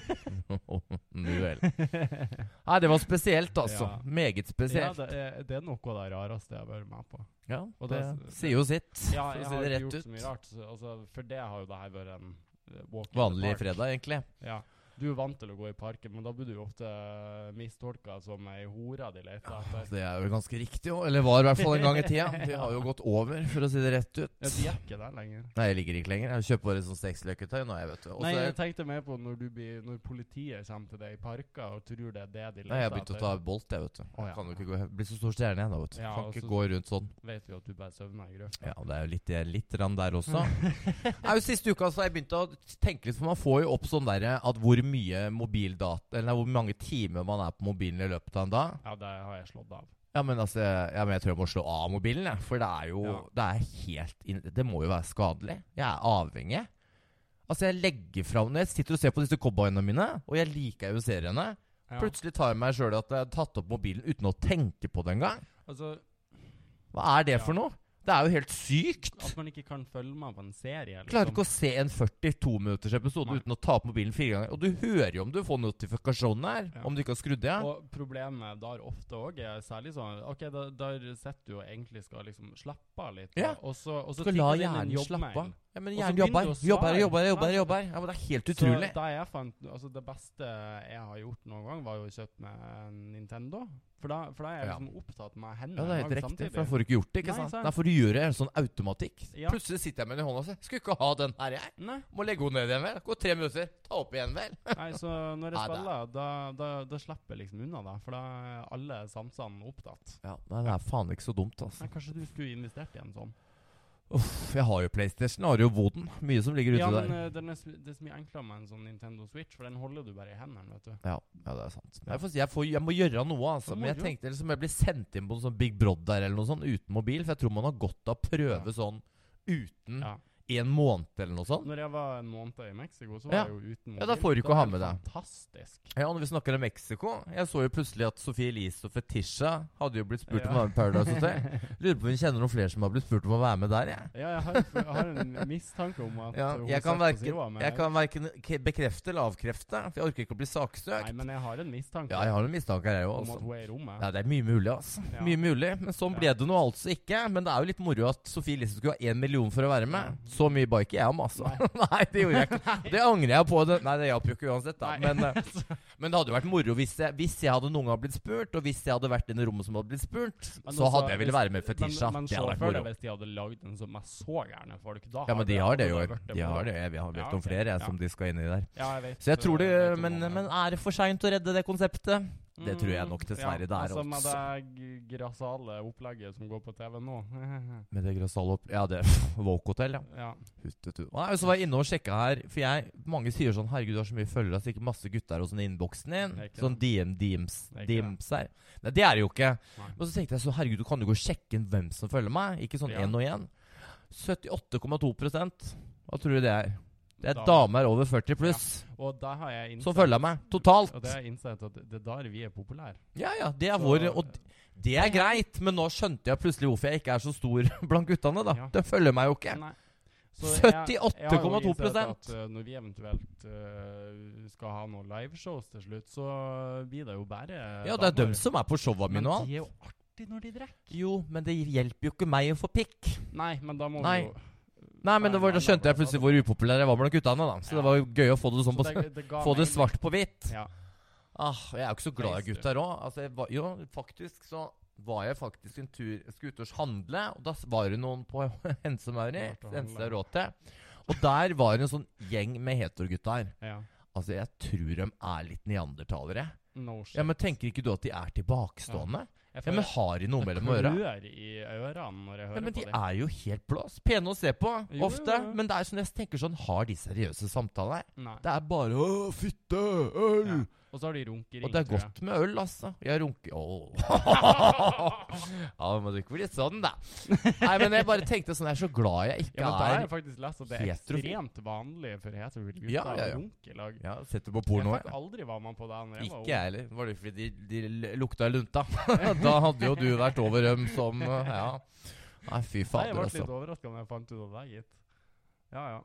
B: Ja. *laughs* nu vel. Nei, det var spesielt, altså.
A: Ja.
B: Meget
A: ja,
B: spesielt.
A: det, er, det er noe av det rareste jeg har vært med på.
B: Ja,
A: Og
B: det
A: det-
B: sier jo sitt,
A: Ja,
B: for
A: jeg
B: å si
A: har
B: det
A: ikke
B: rett
A: gjort så mye
B: ut.
A: rart. Så, altså, for det har jo det her vært en eh, walk in the
B: Vanlig
A: park.
B: fredag, egentlig.
A: Ja. Du er vant til å gå i parken, men da blir du jo ofte mistolka som ei hore de leter etter.
B: Altså, Det er jo ganske riktig òg. Eller var i hvert fall en gang i
A: *laughs*
B: tida. De har jo gått over, for å si det rett ut.
A: Ja, de er ikke der lenger.
B: Nei, jeg ligger ikke lenger. Jeg kjøper bare sånn sexløketøy nå, jeg, vet du. Og så
A: Nei,
B: er-
A: jeg tenkte mer på når, du blir, når politiet kommer til deg i parker og tror det er det de leter etter.
B: Nei, jeg har begynt å ta Bolt, jeg, vet du.
A: Å,
B: Jeg
A: ja.
B: kan jo ikke gå, jeg blir så stor stjerne igjen da, vet du.
A: Ja,
B: kan
A: og
B: ikke
A: så-
B: gå rundt sånn.
A: Vet jo at du bare søvner i grøfta.
B: Ja, det er jo litt, jeg er litt rann der også.
A: Mm.
B: *laughs* Nei, jo, siste uka så har jeg begynt å tenke litt, for man får jo opp sånn derre at hvor mye mobildata Eller hvor mange timer man er på mobilen i løpet av en dag.
A: Ja, det har jeg slått av.
B: Ja, men altså ja, men Jeg tror jeg må slå av mobilen, jeg. For det er jo
A: Ja.
B: Det er helt inn, Det må jo være skadelig. Jeg er avhengig. Altså, jeg legger fram Når jeg sitter og ser på disse cowboyene mine, og jeg liker jo seriene
A: Ja.
B: Plutselig tar jeg meg sjøl i at jeg har tatt opp mobilen uten å tenke på det engang.
A: Altså,
B: Hva er det
A: Ja.
B: for noe? Det er jo helt sykt!
A: at man ikke kan følge med på en serie. liksom.
B: Jeg klarer ikke å se en 42 minutters episode
A: Nei.
B: uten å ta opp mobilen fire ganger. Og du hører jo om du får notifikasjonen her,
A: Ja.
B: om du ikke har skrudd det av.
A: Og problemet der ofte òg er særlig sånn OK, da, der sitter du og egentlig skal liksom slappe av litt,
B: Ja.
A: og så, og så
B: Skal la
A: tikker det inn en
B: hjernen slappe av.
A: jobbmail.
B: Ja, men
A: Og så
B: hjernen
A: begynner
B: jobber.
A: du å svare.
B: Jobber, jobber, jobber.
A: Ja.
B: jobber. Ja, men Det er helt utrolig.
A: Så da jeg fant, altså det beste jeg har gjort noen gang, var jo å kjøpe meg en Nintendo. For da, for da er jeg
B: Ja.
A: liksom opptatt med
B: Ja,
A: hendene.
B: det er helt riktig, for da får du ikke gjort det. ikke
A: Nei,
B: sant?
A: sant.
B: Da får du gjøre en sånn automatikk.
A: Ja.
B: Plutselig sitter jeg med den i hånda og sier 'Skulle ikke ha den her, jeg'.
A: Nei,
B: Må legge henne ned igjen, vel. Gå tre minutter. Ta opp igjen, vel.
A: nei, så når jeg
B: Ja, det er-
A: spiller, da, da, da slipper jeg liksom unna, da. For da er alle sansene opptatt.
B: Ja, nei, Det er faen ikke så dumt, altså.
A: Nei, kanskje du skulle investert i en sånn?
B: Uff, jeg har jo PlayStation, jeg har jo Voden. Mye som ligger ute
A: Ja, men
B: der.
A: eh, den er, s- det er så mye enklere med en sånn Nintendo Switch, for den holder du bare i hendene, vet du.
B: Ja, ja, det er sant. Men Jeg, får, si- jeg, får, jeg må gjøre noe, altså.
A: Du må
B: Men jeg
A: jo.
B: tenkte liksom jeg blir sendt inn på en sånn Big Brother eller noe sånt uten mobil, for jeg tror man har godt av å prøve sånn uten
A: Ja.
B: i en måned eller noe sånt.
A: Når jeg var en måned i Mexico, så var
B: Sånn. Ja.
A: jeg jo uten mobil.
B: Ja, da får du ikke
A: Det
B: ha
A: var
B: med
A: helt
B: deg.
A: Fantastisk.
B: Ja, når vi snakker om Mexico Jeg så jo plutselig at Sophie Elise og Fetisha hadde jo blitt spurt om å
A: Ja.
B: være med i Paradise
A: *laughs*
B: Hotel. Lurer på om vi kjenner noen flere som har blitt spurt om å være med der, jeg.
A: Ja, jeg har, jeg har en mistanke om at
B: Ja,
A: hun
B: jeg kan
A: setter seg
B: verken,
A: over med
B: jeg
A: deg.
B: kan verken k- bekrefte eller avkrefte, for jeg orker ikke å bli
A: Nei,
B: saksøkt.
A: men jeg har en mistanke
B: Ja, jeg har noen mistanker, jeg òg.
A: om at
B: Altså.
A: hun er i rommet.
B: Ja, det er mye mulig, altså.
A: Ja.
B: Mye mulig. Men sånn ble
A: Ja.
B: det nå altså ikke. Men det er jo litt moro at Sophie Elise skulle ha én million for å være med. Så mye ba ikke jeg om, altså. *laughs* Nei, det gjorde jeg
A: *laughs*
B: ikke. Det angrer jeg på. Det. Nei, det hjalp jo ikke uansett, da.
A: Nei.
B: Men, eh, men det hadde jo vært moro hvis jeg, hvis jeg hadde noen gang blitt spurt, og hvis jeg hadde vært i det rommet som hadde blitt spurt,
A: Men
B: så
A: også
B: hadde
A: hvis-
B: jeg villet være med Fetisha.
A: Men, men
B: Det hadde vært
A: sjåfører,
B: moro.
A: hvis de hadde lagd en som er så gærne folk, da
B: Ja, men de har det jo.
A: hadde vært
B: De har
A: bra.
B: det. Vi har
A: Ja,
B: hørt om
A: ok.
B: flere jeg,
A: Ja.
B: som de skal inn i der.
A: Ja, jeg vet,
B: Så jeg tror det
A: jeg vet om
B: Men,
A: han er- sånn
B: men er det for seint å redde det konseptet? det tror jeg nok
A: Mm,
B: dessverre det er
A: altså. Med
B: også.
A: det g- grassale opplegget som går på TV nå. *laughs*
B: Med det grassale opp... Ja, det Woke Hotel, ja.
A: ja.
B: Huttetu. Nei, så var jeg inne og sjekka her, for jeg, mange sier sånn Herregud, du har så mye følgere, sikkert masse gutter hos den innboksen din.
A: Det er ikke
B: Sånn DM, DMs,
A: Det er ikke
B: DMs her. Nei, det er det jo ikke.
A: Nei.
B: Men så tenkte jeg så herregud, du kan jo gå og sjekke inn hvem som følger meg. Ikke sånn
A: Ja.
B: én og én. 78,2 Hva tror du det er? Det er
A: Damer.
B: damer over 40 pluss
A: Og der har jeg innsett
B: som følger meg. Totalt.
A: Og det har jeg innsett at det er der vi er populære.
B: Ja, ja. Det er
A: Så-
B: vår Og d- det er greit, men nå skjønte jeg plutselig hvorfor jeg ikke er så stor *laughs* blant guttene, da.
A: Ja.
B: De følger meg jo ikke.
A: Nei. jeg- jeg har jo
B: 78,2
A: innsett at, eh, Når vi eventuelt eh, skal ha noen liveshows til slutt, så blir det jo bare
B: Ja, det er
A: damer.
B: dem som er på showa mine og alt.
A: Men de er jo artig når de drikker.
B: Jo, men det hjelper jo ikke meg å få pikk.
A: Nei, men da må
B: Nei.
A: vi jo
B: Nei, men
A: Nei,
B: det var,
A: nei,
B: da
A: nei,
B: skjønte
A: nei,
B: jeg plutselig hvor upopulær jeg var blant guttene. da Så det
A: Ja.
B: var jo gøy å få det sånn på
A: Så det, det ga
B: Få det
A: mening.
B: svart på hvitt.
A: Ja.
B: Ah, jeg er jo ikke så glad i
A: Nice, du.
B: gutter òg. Altså, jeg var- jo, faktisk så var jeg faktisk en tur Jeg skulle ut og handle, og da s- var det noen på *laughs* Hense Mauri.
A: Vært og
B: Hense
A: handlet.
B: Råte. Og der var det en sånn gjeng med heterogutter.
A: Ja.
B: Altså, jeg tror de er litt neandertalere.
A: No shit.
B: Ja, men Tenker ikke du at de er tilbakestående?
A: Jeg
B: Ja,
A: føler
B: Men har de noe
A: det
B: mellom øra?
A: klør i ørene når jeg hører
B: Ja, men
A: på
B: de
A: det.
B: er jo helt blåst. Pene å se på,
A: Jo,
B: ofte.
A: jo, jo.
B: Men det er sånn, jeg tenker sånn Har de seriøse samtaler?
A: Nei.
B: Det er bare Å, fytte! Øl!
A: Ja. Og så har de runkering.
B: Og det er
A: tror jeg.
B: godt med øl, altså. Jeg runker Åh.
A: *laughs*
B: Ja, men du ikke bli sånn, da. Nei, men jeg bare tenkte sånn Jeg er så glad jeg ikke
A: Ja, men da har
B: er
A: jeg faktisk lest at det er
B: heterofil.
A: ekstremt vanlig for heterofile gutter
B: Ja, ja,
A: å
B: ja.
A: runke i lag.
B: Ja, Setter på
A: Jeg
B: porno.
A: vet aldri hva man på det når jeg
B: Ikke
A: var ung.
B: jeg heller. Var det fordi de, de lukta
A: *laughs*
B: lunta? *laughs* da hadde jo du vært over dem som eh, Ja. Nei, fy
A: Nei, jeg
B: fader,
A: ble
B: altså.
A: litt overraska da jeg fant ut av det, gitt. Ja ja.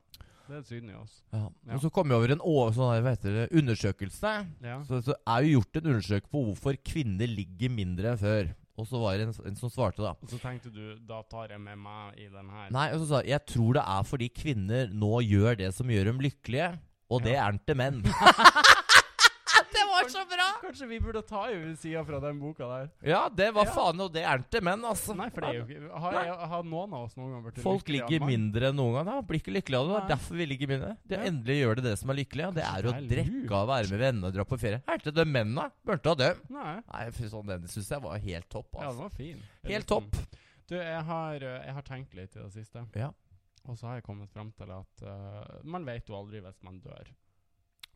A: Det er synd i oss.
B: Ja.
A: Ja.
B: Og så kom jeg over en å- sånn, her, hva heter det, undersøkelse.
A: Ja.
B: Så, så er jo gjort en undersøkelse på hvorfor kvinner ligger mindre enn før. Og så var det en, en som svarte, da.
A: Og så tenkte du da tar jeg med meg i den her.
B: Nei, og så sa jeg, jeg tror det er fordi kvinner nå gjør det som gjør dem lykkelige, og det
A: Ja.
B: er den til menn.
C: *laughs* Det var så bra!
A: Kanskje vi burde ta over sida fra den boka der?
B: ja, det var
A: Ja.
B: faen, og det er den til menn, altså.
A: Nei, for det er jo ikke Har, jeg, har noen av oss noen gang blitt
B: Folk
A: lykkelig av
B: ligger
A: mann?
B: mindre enn noen gang. Da. Blir ikke lykkelig av det. Det er
A: Nei.
B: derfor vi ligger mindre. Det
A: Ja.
B: Endelig gjør det det som er lykkelig. og Det
A: Kanskje
B: er å
A: det er lurt.
B: drikke og være med venner og dra på ferie. Her til de mennene. Burde ha dem.
A: Nei.
B: Nei, fy sånn, den syns jeg var helt topp.
A: Ja, den
B: Altså.
A: var fin. sånn.
B: helt topp.
A: Du, jeg har, eh, jeg har tenkt litt i det siste.
B: Ja.
A: Og så har jeg kommet fram til at eh, man vet jo aldri hvis man dør.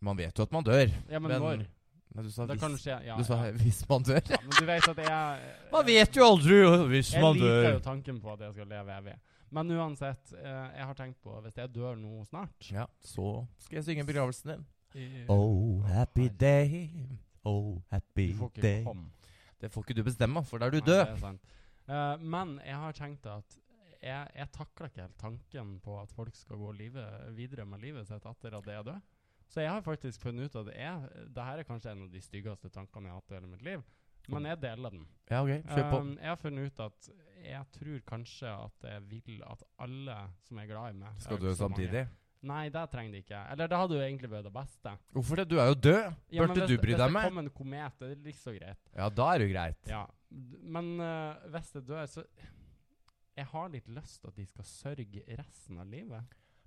B: Man vet jo at man dør.
A: Ja, men,
B: Men
A: når?
B: Nei, du sa
A: Det
B: hvis,
A: kan skje. Ja,
B: du sa,
A: ja.
B: hvis man dør.
A: *laughs* ja, men du vet at jeg
B: *laughs*
A: eh,
B: Man vet jo aldri hvis
A: Jeg
B: man
A: liker
B: dør.
A: jo tanken på at jeg skal leve evig. Men uansett, eh, jeg har tenkt på hvis jeg dør nå snart
B: Ja, så skal jeg synge begravelsen din.
A: i-
B: Oh, happy day. Oh, happy
A: Du får ikke
B: day.
A: komme.
B: Det får ikke du bestemme, for da er du
A: Nei,
B: død.
A: det er sant. Eh, men jeg har tenkt at jeg, jeg takler ikke helt tanken på at folk skal gå livet, videre med livet sitt etter at jeg er død. Så jeg har faktisk funnet ut at jeg, det her er kanskje en av de styggeste tankene jeg har hatt i hele mitt liv. Men jeg deler den.
B: Ja, ok, kjør på.
A: Um, jeg har funnet ut at jeg tror kanskje at jeg vil at alle som er glad i meg
B: Skal
A: det
B: du
A: er jo ikke så mange.
B: samtidig?
A: Nei, det trenger de ikke. Eller det hadde jo egentlig vært det beste.
B: Hvorfor det? Du er jo død.
A: Ja, men
B: Burde
A: hvis-
B: du bry deg
A: Hvis det
B: med?
A: kom en komet, det er ikke så greit.
B: Ja, da er det jo greit.
A: Ja, d- men eh, hvis jeg dør, så Jeg har litt lyst til at de skal sørge resten av livet.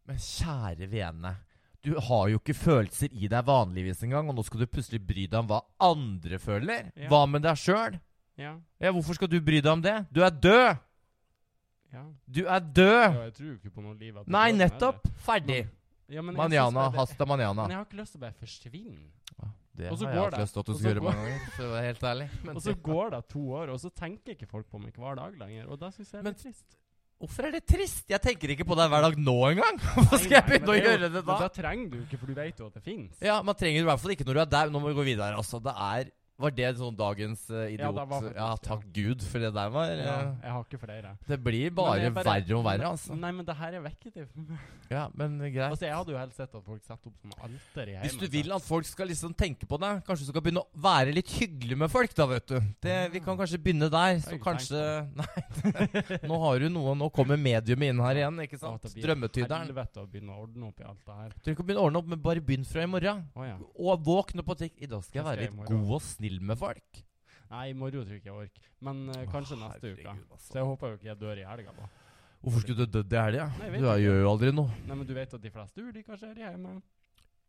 B: Men kjære vene, du har jo ikke følelser i deg vanligvis engang, og nå skal du plutselig bry deg om hva andre føler.
A: Ja.
B: Hva med deg sjøl?
A: Ja.
B: Ja, hvorfor skal du bry deg om det? Du er død!
A: ja.
B: Du er død!
A: ja jeg tror jo ikke på noe liv at
B: Nei,
A: døden er
B: nettopp! Ferdig!
A: det. Ja, men jeg synes
B: Manjana.
A: bare det-
B: Hasta manjana.
A: Men jeg har ikke lyst til å bare forsvinne.
B: Det
A: Og så
B: har jeg
A: går
B: hatt
A: det.
B: lyst til at du
A: Og så
B: skulle gjøre
A: går-
B: mange ganger, for å være helt ærlig. Men
A: Og så går det to år, og så tenker ikke folk på meg hver dag lenger. Og det syns jeg er
B: Men-
A: litt
B: *laughs*
A: trist.
B: hvorfor er det trist? Jeg tenker ikke på deg hver dag nå engang! Hvorfor skal
A: Nei,
B: jeg
A: nei, men
B: begynne å
A: er jo-
B: gjøre det da?
A: Men da trenger du ikke, for du vet jo at det fins.
B: Ja, man trenger i hvert fall ikke når du er der. Nå må vi gå videre. Altså, det er Var det sånn dagens eh,
A: Ja,
B: idiot?
A: det
B: Ja,
A: var faktisk-
B: takk Gud for det der var. eh,
A: Jeg har ikke flere.
B: Det blir
A: Men
B: bare,
A: jeg Mm.
B: verre og verre, altså.
A: Nei, men det her er vekket for meg.
B: Ja, men greit.
A: Altså, jeg hadde jo helst sett at folk setter opp sånne alter i heimen.
B: Hvis du
A: sin.
B: vil at folk skal liksom tenke på deg, kanskje du skal begynne å være litt hyggelig med folk, da, vet du. Det,
A: Mm.
B: vi kan kanskje begynne der. Så
A: Jeg tenkte
B: kanskje *laughs* Nei, nå har du noe Nå kommer mediumet inn her igjen, ikke
A: Å,
B: sant?
A: det blir
B: Drømmetyderen.
A: Helvete å begynne å ordne opp i alt det her.
B: Du trenger ikke å begynne å ordne opp, men bare begynn fra i morgen.
A: Å ja.
B: Og våkne på tikk. I dag skal jeg
A: Da skal jeg
B: være
A: i
B: litt
A: morgen.
B: god og snill med folk.
A: Nei, i morgen tror jeg ikke jeg orker. Men eh, kanskje
B: Å,
A: neste uke.
B: herregud, altså.
A: Så jeg håper jo ikke jeg dør i helga, da.
B: Hvorfor skulle du dødd i helga?
A: Nei, jeg vet
B: Du er-
A: ikke.
B: gjør jo aldri noe.
A: Nei, men du vet at de fleste ulykker skjer i hjemmet.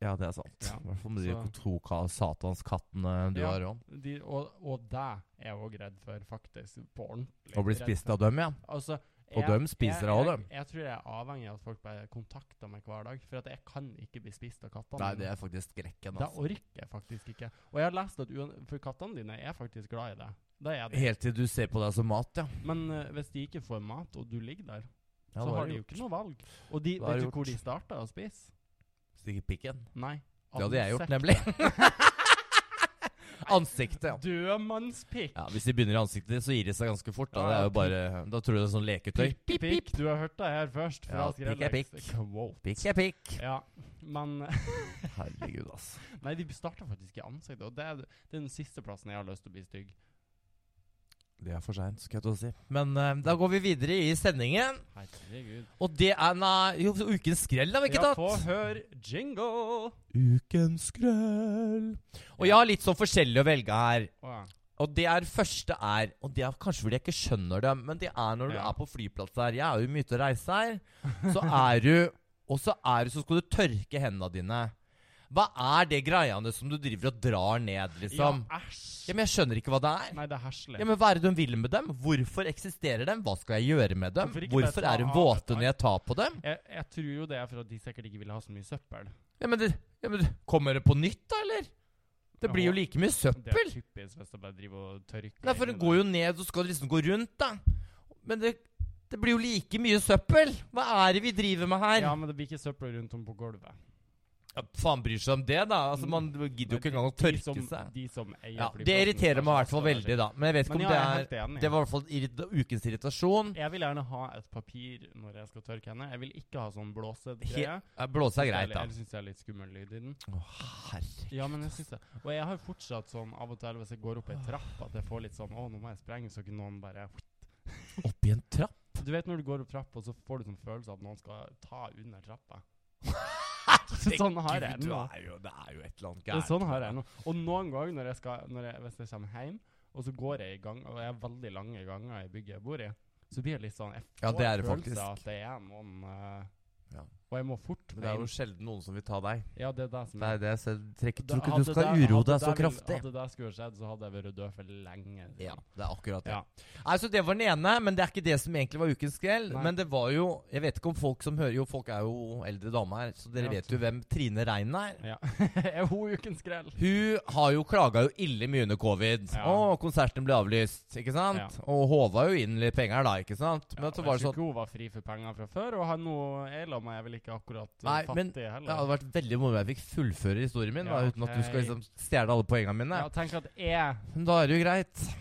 B: Ja, det er sant.
A: Ja.
B: I hvert fall med de
A: Så-
B: to ka satanskattene du
A: Ja.
B: har om.
A: De, og, og det er jeg òg redd for, faktisk. På ordentlig.
B: Og blir
A: redd
B: spist
A: for.
B: av dem, ja.
A: Altså,
B: Og dem
A: jeg,
B: spiser av
A: jeg,
B: dem.
A: jeg tror jeg er avhengig av at folk bare kontakter meg hver dag. For at jeg kan ikke bli spist av kattene.
B: Nei,
A: mine.
B: det er faktisk skrekken.
A: det
B: Altså.
A: orker jeg faktisk ikke. Og jeg har lest at uan, For kattene dine er faktisk glad i deg. Det er de.
B: Helt til du ser på deg som mat, ja.
A: Men eh, hvis de ikke får mat, og du ligger der
B: ja
A: så
B: da er
A: har de
B: det
A: jo ikke noe valg. Og de,
B: Da er
A: vet du
B: det
A: hvor de
B: gjort.
A: starta å spise?
B: Stikke pikken.
A: Nei.
B: Det hadde jeg gjort,
A: ansikt.
B: nemlig. *laughs* Ansiktet, ja.
A: Dødmannspikk.
B: ja. Hvis de begynner i ansiktet, så gir de seg ganske fort. Da, det er jo bare, da tror du det er sånn leketøy.
A: Pikk, pikk. Du har hørt det her først. Fra
B: Ja, pikk er
A: Skrellex.
B: pikk.
A: Wow.
B: Pikk er pikk.
A: Ja, men *laughs*
B: Herregud, altså.
A: Nei, de starta faktisk i ansiktet, og det er, det er den siste plassen jeg har lyst til å bli stygg.
B: Det er for seint, skal jeg til å si. Men eh, da går vi videre i sendingen.
A: Herregud.
B: Og det er Nei, jo, ukens skrell har vi ikke
A: Ja,
B: tatt.
A: få høre jingle.
B: Ukens skrell. Og jeg har litt sånn forskjellig å velge her.
A: Å ja.
B: Og det er første er Og det er kanskje fordi jeg ikke skjønner det, men det er når du
A: Ja.
B: er på flyplass her. Jeg er jo mye ute og reiser her. Så er du Og så er du Så skal du tørke hendene dine. Hva er det greiene som du driver og drar ned, liksom?
A: Ja, æsj.
B: Ja, men jeg skjønner ikke hva det er.
A: Nei, det er heslig.
B: Ja, men Hva er det de vil med dem? Hvorfor eksisterer dem? Hva skal jeg gjøre med dem?
A: Hvorfor ikke
B: Hvorfor
A: bare
B: er de
A: ta av
B: våte
A: dette?
B: når jeg tar på dem?
A: Jeg, jeg tror jo det er for at de sikkert ikke vil ha så mye søppel.
B: Ja, men, det, ja, men det- Kommer det på nytt, da, eller? Det blir jo like mye
A: Det er
B: søppel.
A: typisk hvis de bare driver og tørker.
B: Nei, for det går jo ned, så skal det liksom gå rundt, da. Men det, det blir jo like mye søppel. Hva er det vi driver med her?
A: Ja, men det blir ikke søppel rundt om på gulvet.
B: Ja, faen bryr seg om det, da. Altså, Man gidder jo ikke engang å
A: De
B: tørke
A: som,
B: seg.
A: De som eier
B: Ja,
A: flyplassen,
B: Det irriterer meg i hvert fall
A: kanskje
B: veldig, da. Men jeg vet ikke
A: Men
B: om
A: ja,
B: det
A: jeg er
B: er
A: helt enig.
B: Det var i hvert fall irrit- ukens irritasjon.
A: Jeg vil gjerne ha et papir når jeg skal tørke henne. Jeg vil ikke ha sånn blåsegreie.
B: He- Blåse er greit, da.
A: Jeg syns det er litt skummel lyd i den.
B: Å, herre
A: Ja, men jeg syns det. Og jeg har fortsatt sånn av og til hvis jeg går opp ei trapp, at jeg får litt sånn Å, nå må jeg sprenge, så ikke noen bare
B: Opp i en trapp?
A: Du vet når du går opp trappa, så får du sånn følelse av at noen skal ta under trappa. *laughs* sånn har jeg
B: Gud,
A: det
B: du
A: nå.
B: er jo, det er jo et eller annet
A: Det er
B: gærent.
A: sånn har jeg nå. Og noen ganger når jeg skal, når jeg, hvis jeg kommer hjem, og så går jeg i gang, og jeg har veldig lange ganger i bygget jeg bor i, så blir det litt sånn Jeg får
B: Ja, det er det
A: følelse
B: faktisk.
A: av at det er noen eh,
B: Ja.
A: Og jeg må fort
B: Men det er
A: hjem.
B: jo sjelden noen som vil ta deg.
A: Ja, det er det som
B: Det er det jeg ser. Trekk,
A: Da-
B: tror ikke
A: hadde
B: du skal
A: det-
B: uroe
A: hadde
B: deg så
A: det vel-
B: kraftig.
A: Hadde det skulle skjedd, så hadde jeg vært død for lenge. siden. *laughs*
B: Ja, det er akkurat det.
A: Ja.
B: Nei, så det var den ene, men det er ikke det som egentlig var ukens grell.
A: Nei.
B: Men det var jo Jeg vet ikke om folk som hører Jo, folk er jo eldre damer her, så dere
A: Ja.
B: vet jo hvem Trine Rein er.
A: Ja. er hun ukens grell?
B: Hun har jo klaga jo ille mye under covid.
A: Ja.
B: Og konserten ble avlyst, ikke sant?
A: Ja.
B: Og håva jo inn litt penger da, ikke sant? Men
A: Ja,
B: så var det sånn
A: ikke hun var fri for penger fra før, og han nå er la meg vel ikke akkurat eh,
B: Nei, men-
A: fattig
B: Det hadde
A: heller.
B: vært veldig moro om jeg fikk fullføre historien min,
A: Ja,
B: da, uten at du skal
A: ok.
B: liksom stjele alle poengene
A: Ja,
B: mine.
A: tenk at jeg
B: Men da er det jo greit.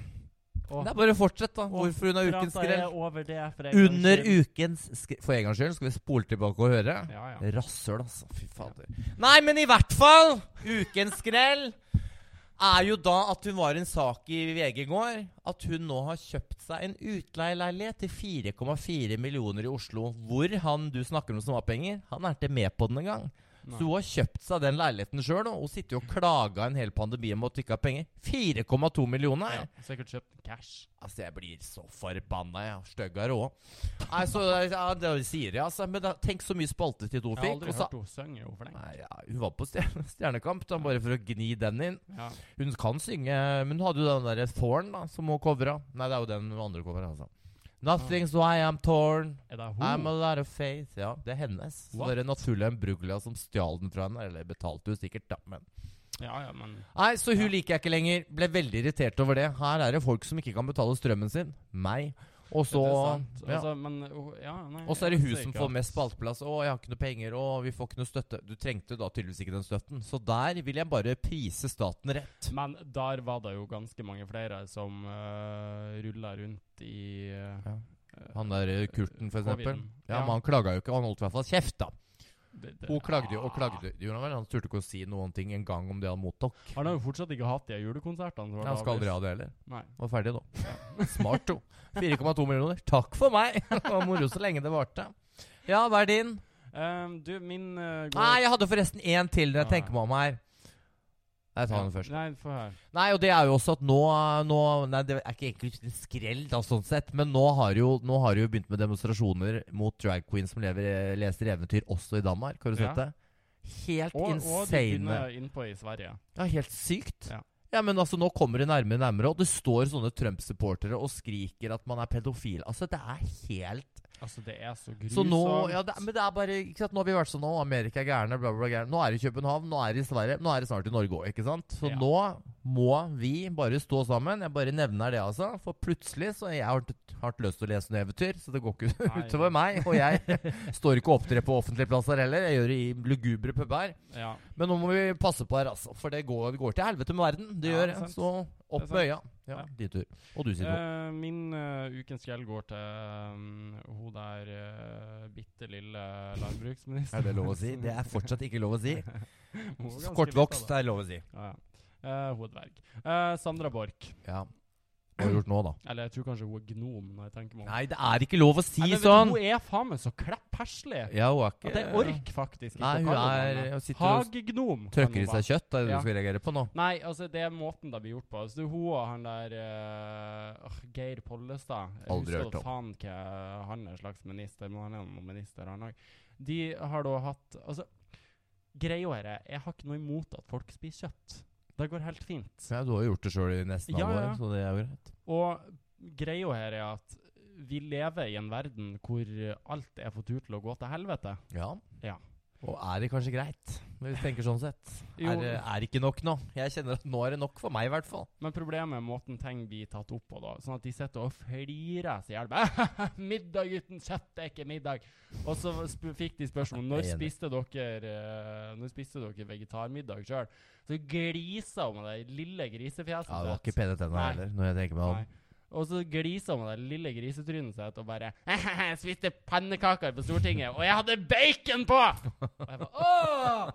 A: og
B: Det er bare å fortsette, da. Hvorfor hun er ukens
A: prata jeg
B: grell.
A: over det for en gangs
B: Under
A: skyld.
B: ukens skre... For en gangs skyld skal vi spole tilbake og høre.
A: Ja, ja.
B: Rasshøl, altså. Fy fader. Nei, men i hvert fall! Ukens skrell er jo da at hun var en sak i VG i går. At hun nå har kjøpt seg en utleieleilighet til 4,4 millioner i Oslo. Hvor han du snakker om som har penger, han er ikke med på den engang.
A: Nei.
B: Så hun har kjøpt seg den leiligheten sjøl, og hun sitter jo og klager en hel pandemi om at hun ikke har penger. 4,2 millioner!
A: Ja, sikkert kjøpt cash.
B: Altså, jeg blir så forbanna, jeg. Styggere òg. Nei, så ja, det sier jeg, altså. Men da, tenk så mye spaltetid hun
A: Jeg har
B: fikk.
A: aldri
B: og så-
A: hørt henne synge, hun flink.
B: Nei, ja, hun var på stjerne, *laughs* Stjernekamp, da, bare for å gni den inn.
A: Ja.
B: Hun kan synge, men hun hadde jo den derre Thorn, da, som hun covra. Nei, det er jo den hun andre covra, altså. Nothing's why I'm torn,
A: Er det
B: I'm a
A: hun?
B: lot of faith. Ja, det er hennes. Så
A: What?
B: det er naturlig en Bruglia som stjal den fra henne. Eller betalte hun sikkert, da, men
A: Ja, ja, men
B: Nei, så hun
A: Ja.
B: liker jeg ikke lenger. Ble veldig irritert over det. Her er det folk som ikke kan betale strømmen sin. Meg. Og så
A: Interessant.
B: ja.
A: Altså, men, uh, ja, nei,
B: Og så er det
A: jeg
B: hun
A: vet
B: som
A: ikke,
B: får
A: ass.
B: mest spalteplass. Å, jeg har ikke noe penger, og vi får ikke noe støtte. Du trengte da tydeligvis ikke den støtten. Så der vil jeg bare prise staten rett.
A: Men der var det jo ganske mange flere som uh, rulla rundt i eh,
B: Ja. Han der eh, Kurten, for eksempel.
A: Coviden.
B: Ja,
A: Ja.
B: men han klaga jo ikke. Han holdt i hvert fall kjeft, da.
A: det- det-
B: Hun klagde jo og
A: Ah.
B: klagde. Gjorde han vel? Han turte ikke å si noen ting en gang om det han mottok.
A: Han har jo fortsatt ikke hatt de julekonsertene. som ble
B: Han skal aldri
A: avlyst.
B: ha det heller.
A: Nei.
B: Var ferdig nå. *laughs* Smart, jo. 4,2 millioner. Takk for meg! *laughs* Det var moro så lenge det varte. Ja, hva er din?
A: Ehm, du, min uh, går
B: Nei, jeg hadde forresten én til når jeg
A: Ja.
B: tenker meg om her. Jeg tar den først.
A: Nei, få høre.
B: Nei, og det er jo også at nå, nå Nei, det er ikke egentlig en skrell, da, sånn sett. Men nå har jo, nå har jo begynt med demonstrasjoner mot drag queens som lever, leser eventyr, også i Danmark. Har du
A: Ja.
B: sett det? Helt
A: Og, og de
B: insane.
A: begynner innpå i Sverige.
B: Ja, helt sykt. Ja.
A: Ja.
B: men altså, nå kommer det nærmere og nærmere, og det står sånne Trump-supportere og skriker at man er pedofil. Altså, det er helt
A: Altså, det er så grusomt.
B: Så nå ja, det, Men det er bare ikke sant? Nå har vi vært sånn nå, Amerika er gærne, bla, bla, bla. gærne. Nå er det i København, nå er det i Sverige, nå er det snart i Norge òg, ikke sant? Så
A: Ja.
B: nå må vi bare stå sammen. Jeg bare nevner det, altså. For plutselig så Jeg har ikke har ikke lyst til å lese noe eventyr, så det går ikke
A: Nei.
B: *laughs* utover meg. Og
A: *laughs*
B: jeg står ikke og opptrer på offentlige plasser heller. Jeg gjør det i lugubre puber.
A: ja.
B: Men nå må vi passe på her, altså. For det går, det går til helvete med verden. Det
A: Ja,
B: gjør
A: det er
B: det.
A: sant.
B: Så
A: Det
B: opp
A: er
B: med øya. Ja,
A: Ja.
B: Din tur. Og du, Sido.
A: Eh, min eh, ukens gjeld går til eh, hun der uh, bitte lille landbruksministeren.
B: er det lov å si? Det er fortsatt ikke lov å
A: *laughs*
B: si.
A: Hun var ganske
B: Kortvokst
A: bitte, da.
B: er lov å si.
A: Ja, ja. Eh, hun er dverg. Eh, Sandra Borch.
B: Ja. Hva har du gjort nå, da?
A: Eller jeg tror kanskje hun er gnom, når jeg tenker meg om.
B: Nei, det er ikke lov å si
A: Nei, men vet du,
B: sånn!
A: Hun er faen meg så kleppherslig
B: Ja, hun er
A: at jeg
B: ikke
A: orker faktisk ikke
B: Nei,
A: å
B: hun
A: kalle
B: er
A: henne.
B: Hun sitter og
A: Hagegnom. kan
B: tørker i
A: hun være.
B: seg kjøtt. Det er det
A: Ja.
B: du skal reagere på nå.
A: Nei, altså, det er måten det blir gjort på. Altså, hun og han der eh, åh, Geir Pollestad Jeg
B: Aldri
A: husker
B: hørt om.
A: faen ikke han er en slags minister, men han er noen minister, han òg. De har da hatt Altså, Greia her er, jeg har ikke noe imot at folk spiser kjøtt. Det går helt fint.
B: Ja, du har jo gjort det sjøl i nesten alle
A: Ja, ja.
B: år, så det er jo greit.
A: Og greia her er at vi lever i en verden hvor alt er for tur til å gå til helvete.
B: Ja.
A: Ja.
B: Og er det kanskje greit, hvis du tenker sånn sett?
A: Jo.
B: Er, det- er det ikke nok nå? Jeg kjenner at nå er det nok for meg, i hvert fall.
A: Men problemet er måten ting blir tatt opp på, da. Sånn at de sitter og flirer seg i hjel. *laughs* 'Middag uten kjøtt er ikke middag'. Og så sp fikk de spørsmål når
B: Jeg er enig.
A: spiste dere eh, Når spiste dere vegetarmiddag sjøl. Så glisa hun med det lille grisefjeset
B: Ja, Du har
A: sitt.
B: ikke pene tenner
A: Nei.
B: heller, når jeg tenker meg om.
A: Nei. Og så glisa hun med det lille grisetrynet sitt og bare «Jeg spiste pannekaker på Stortinget, og jeg hadde bacon på! Og jeg bare åh!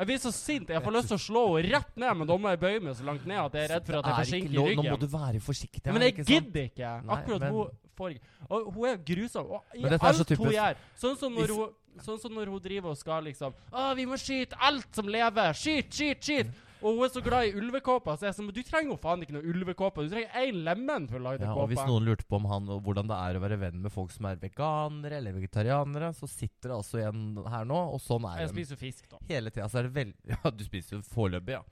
A: Jeg blir så sint. Jeg får lyst til å slå henne rett ned, men da må jeg bøye meg så langt ned at jeg er redd for at jeg
B: Er
A: får
B: ikke
A: skinke
B: lov-
A: i
B: Nå må du
A: ryggen.
B: være forsiktig.
A: Men
B: her,
A: jeg
B: ikke sant?
A: gidder ikke.
B: Nei,
A: Akkurat
B: men-
A: hun får ikke Og hun er grusom. Og i
B: Men dette er
A: alt
B: så typisk.
A: hun gjør. Sånn som
B: If-
A: når hun Sånn som når hun driver og skal liksom Å, vi må skyte alt som lever! Skyt, skyt, skyt! Og hun er så glad i ulvekåper, så jeg er sånn Du trenger jo faen ikke noe ulvekåpe. Du trenger én lemen for å lage
B: Ja,
A: ja,
B: og hvis
A: kåpe.
B: noen lurte på om han, og hvordan det er å være venn med folk som er veganere eller vegetarianere, så sitter det altså igjen her nå, og sånn er
A: Jeg
B: det.
A: spiser jo fisk, da.
B: Hele tida så er det veldig *laughs* Ja, du spiser jo foreløpig, ja.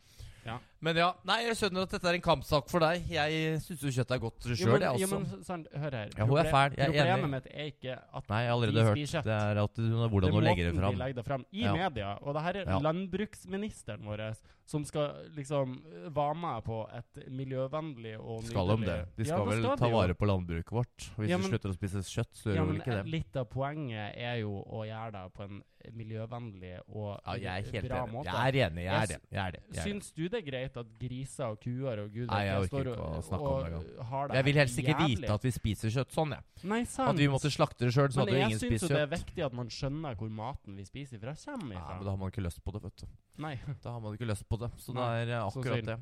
A: Ja.
B: Men ja, nei, jeg skjønner at dette er en kampsak for deg. Jeg syns jo kjøtt er godt sjøl,
A: Jo, men,
B: jeg altså.
A: jo,
B: også.
A: men sånn, hør her.
B: Ja, hun er
A: Proble-
B: fæl. Jeg er enig.
A: Problemet mitt er ikke at
B: Nei, jeg
A: De
B: har allerede hørt.
A: spiser kjøtt.
B: Det er at du, hvordan hun legger det
A: måten
B: fram.
A: de legger det fram i
B: Ja.
A: media. Og det her er
B: Ja.
A: landbruksministeren vår som skal liksom eh, være med på et miljøvennlig og nydelig
B: Skal de det? De skal vel ta vare på landbruket vårt. Hvis
A: Ja,
B: du
A: men-
B: slutter å spise kjøtt, så gjør
A: Ja,
B: du
A: men
B: vel ikke
A: eh,
B: det.
A: litt av poenget er jo å gjøre det på en miljøvennlig og
B: Ja, jeg er helt
A: bra
B: enig.
A: måte.
B: Jeg er enig. Jeg
A: Jeg
B: er det. Jeg er det. Jeg, er det.
A: Syns du det er greit at griser og kuer og gud
B: Nei, jeg
A: vet
B: orker
A: står
B: ikke
A: og-
B: å snakke om det
A: og
B: engang.
A: har det
B: jeg vil helst ikke
A: jævlig?
B: vite at vi spiser kjøtt sånn, jeg.
A: Nei, sant.
B: Hadde vi måttet slakte det sjøl,
A: Men
B: så hadde jo
A: jeg
B: ingen
A: syns
B: spist
A: jo det er liksom.
B: kjøtt.
A: viktig at man skjønner hvor maten vi spiser fra, kommer
B: Ja,
A: ifra.
B: men da har man ikke lyst på det, vet du.
A: Nei,
B: Da har man ikke lyst på det. Så det
A: Nei,
B: er eh,
A: så
B: akkurat
A: synd.
B: det.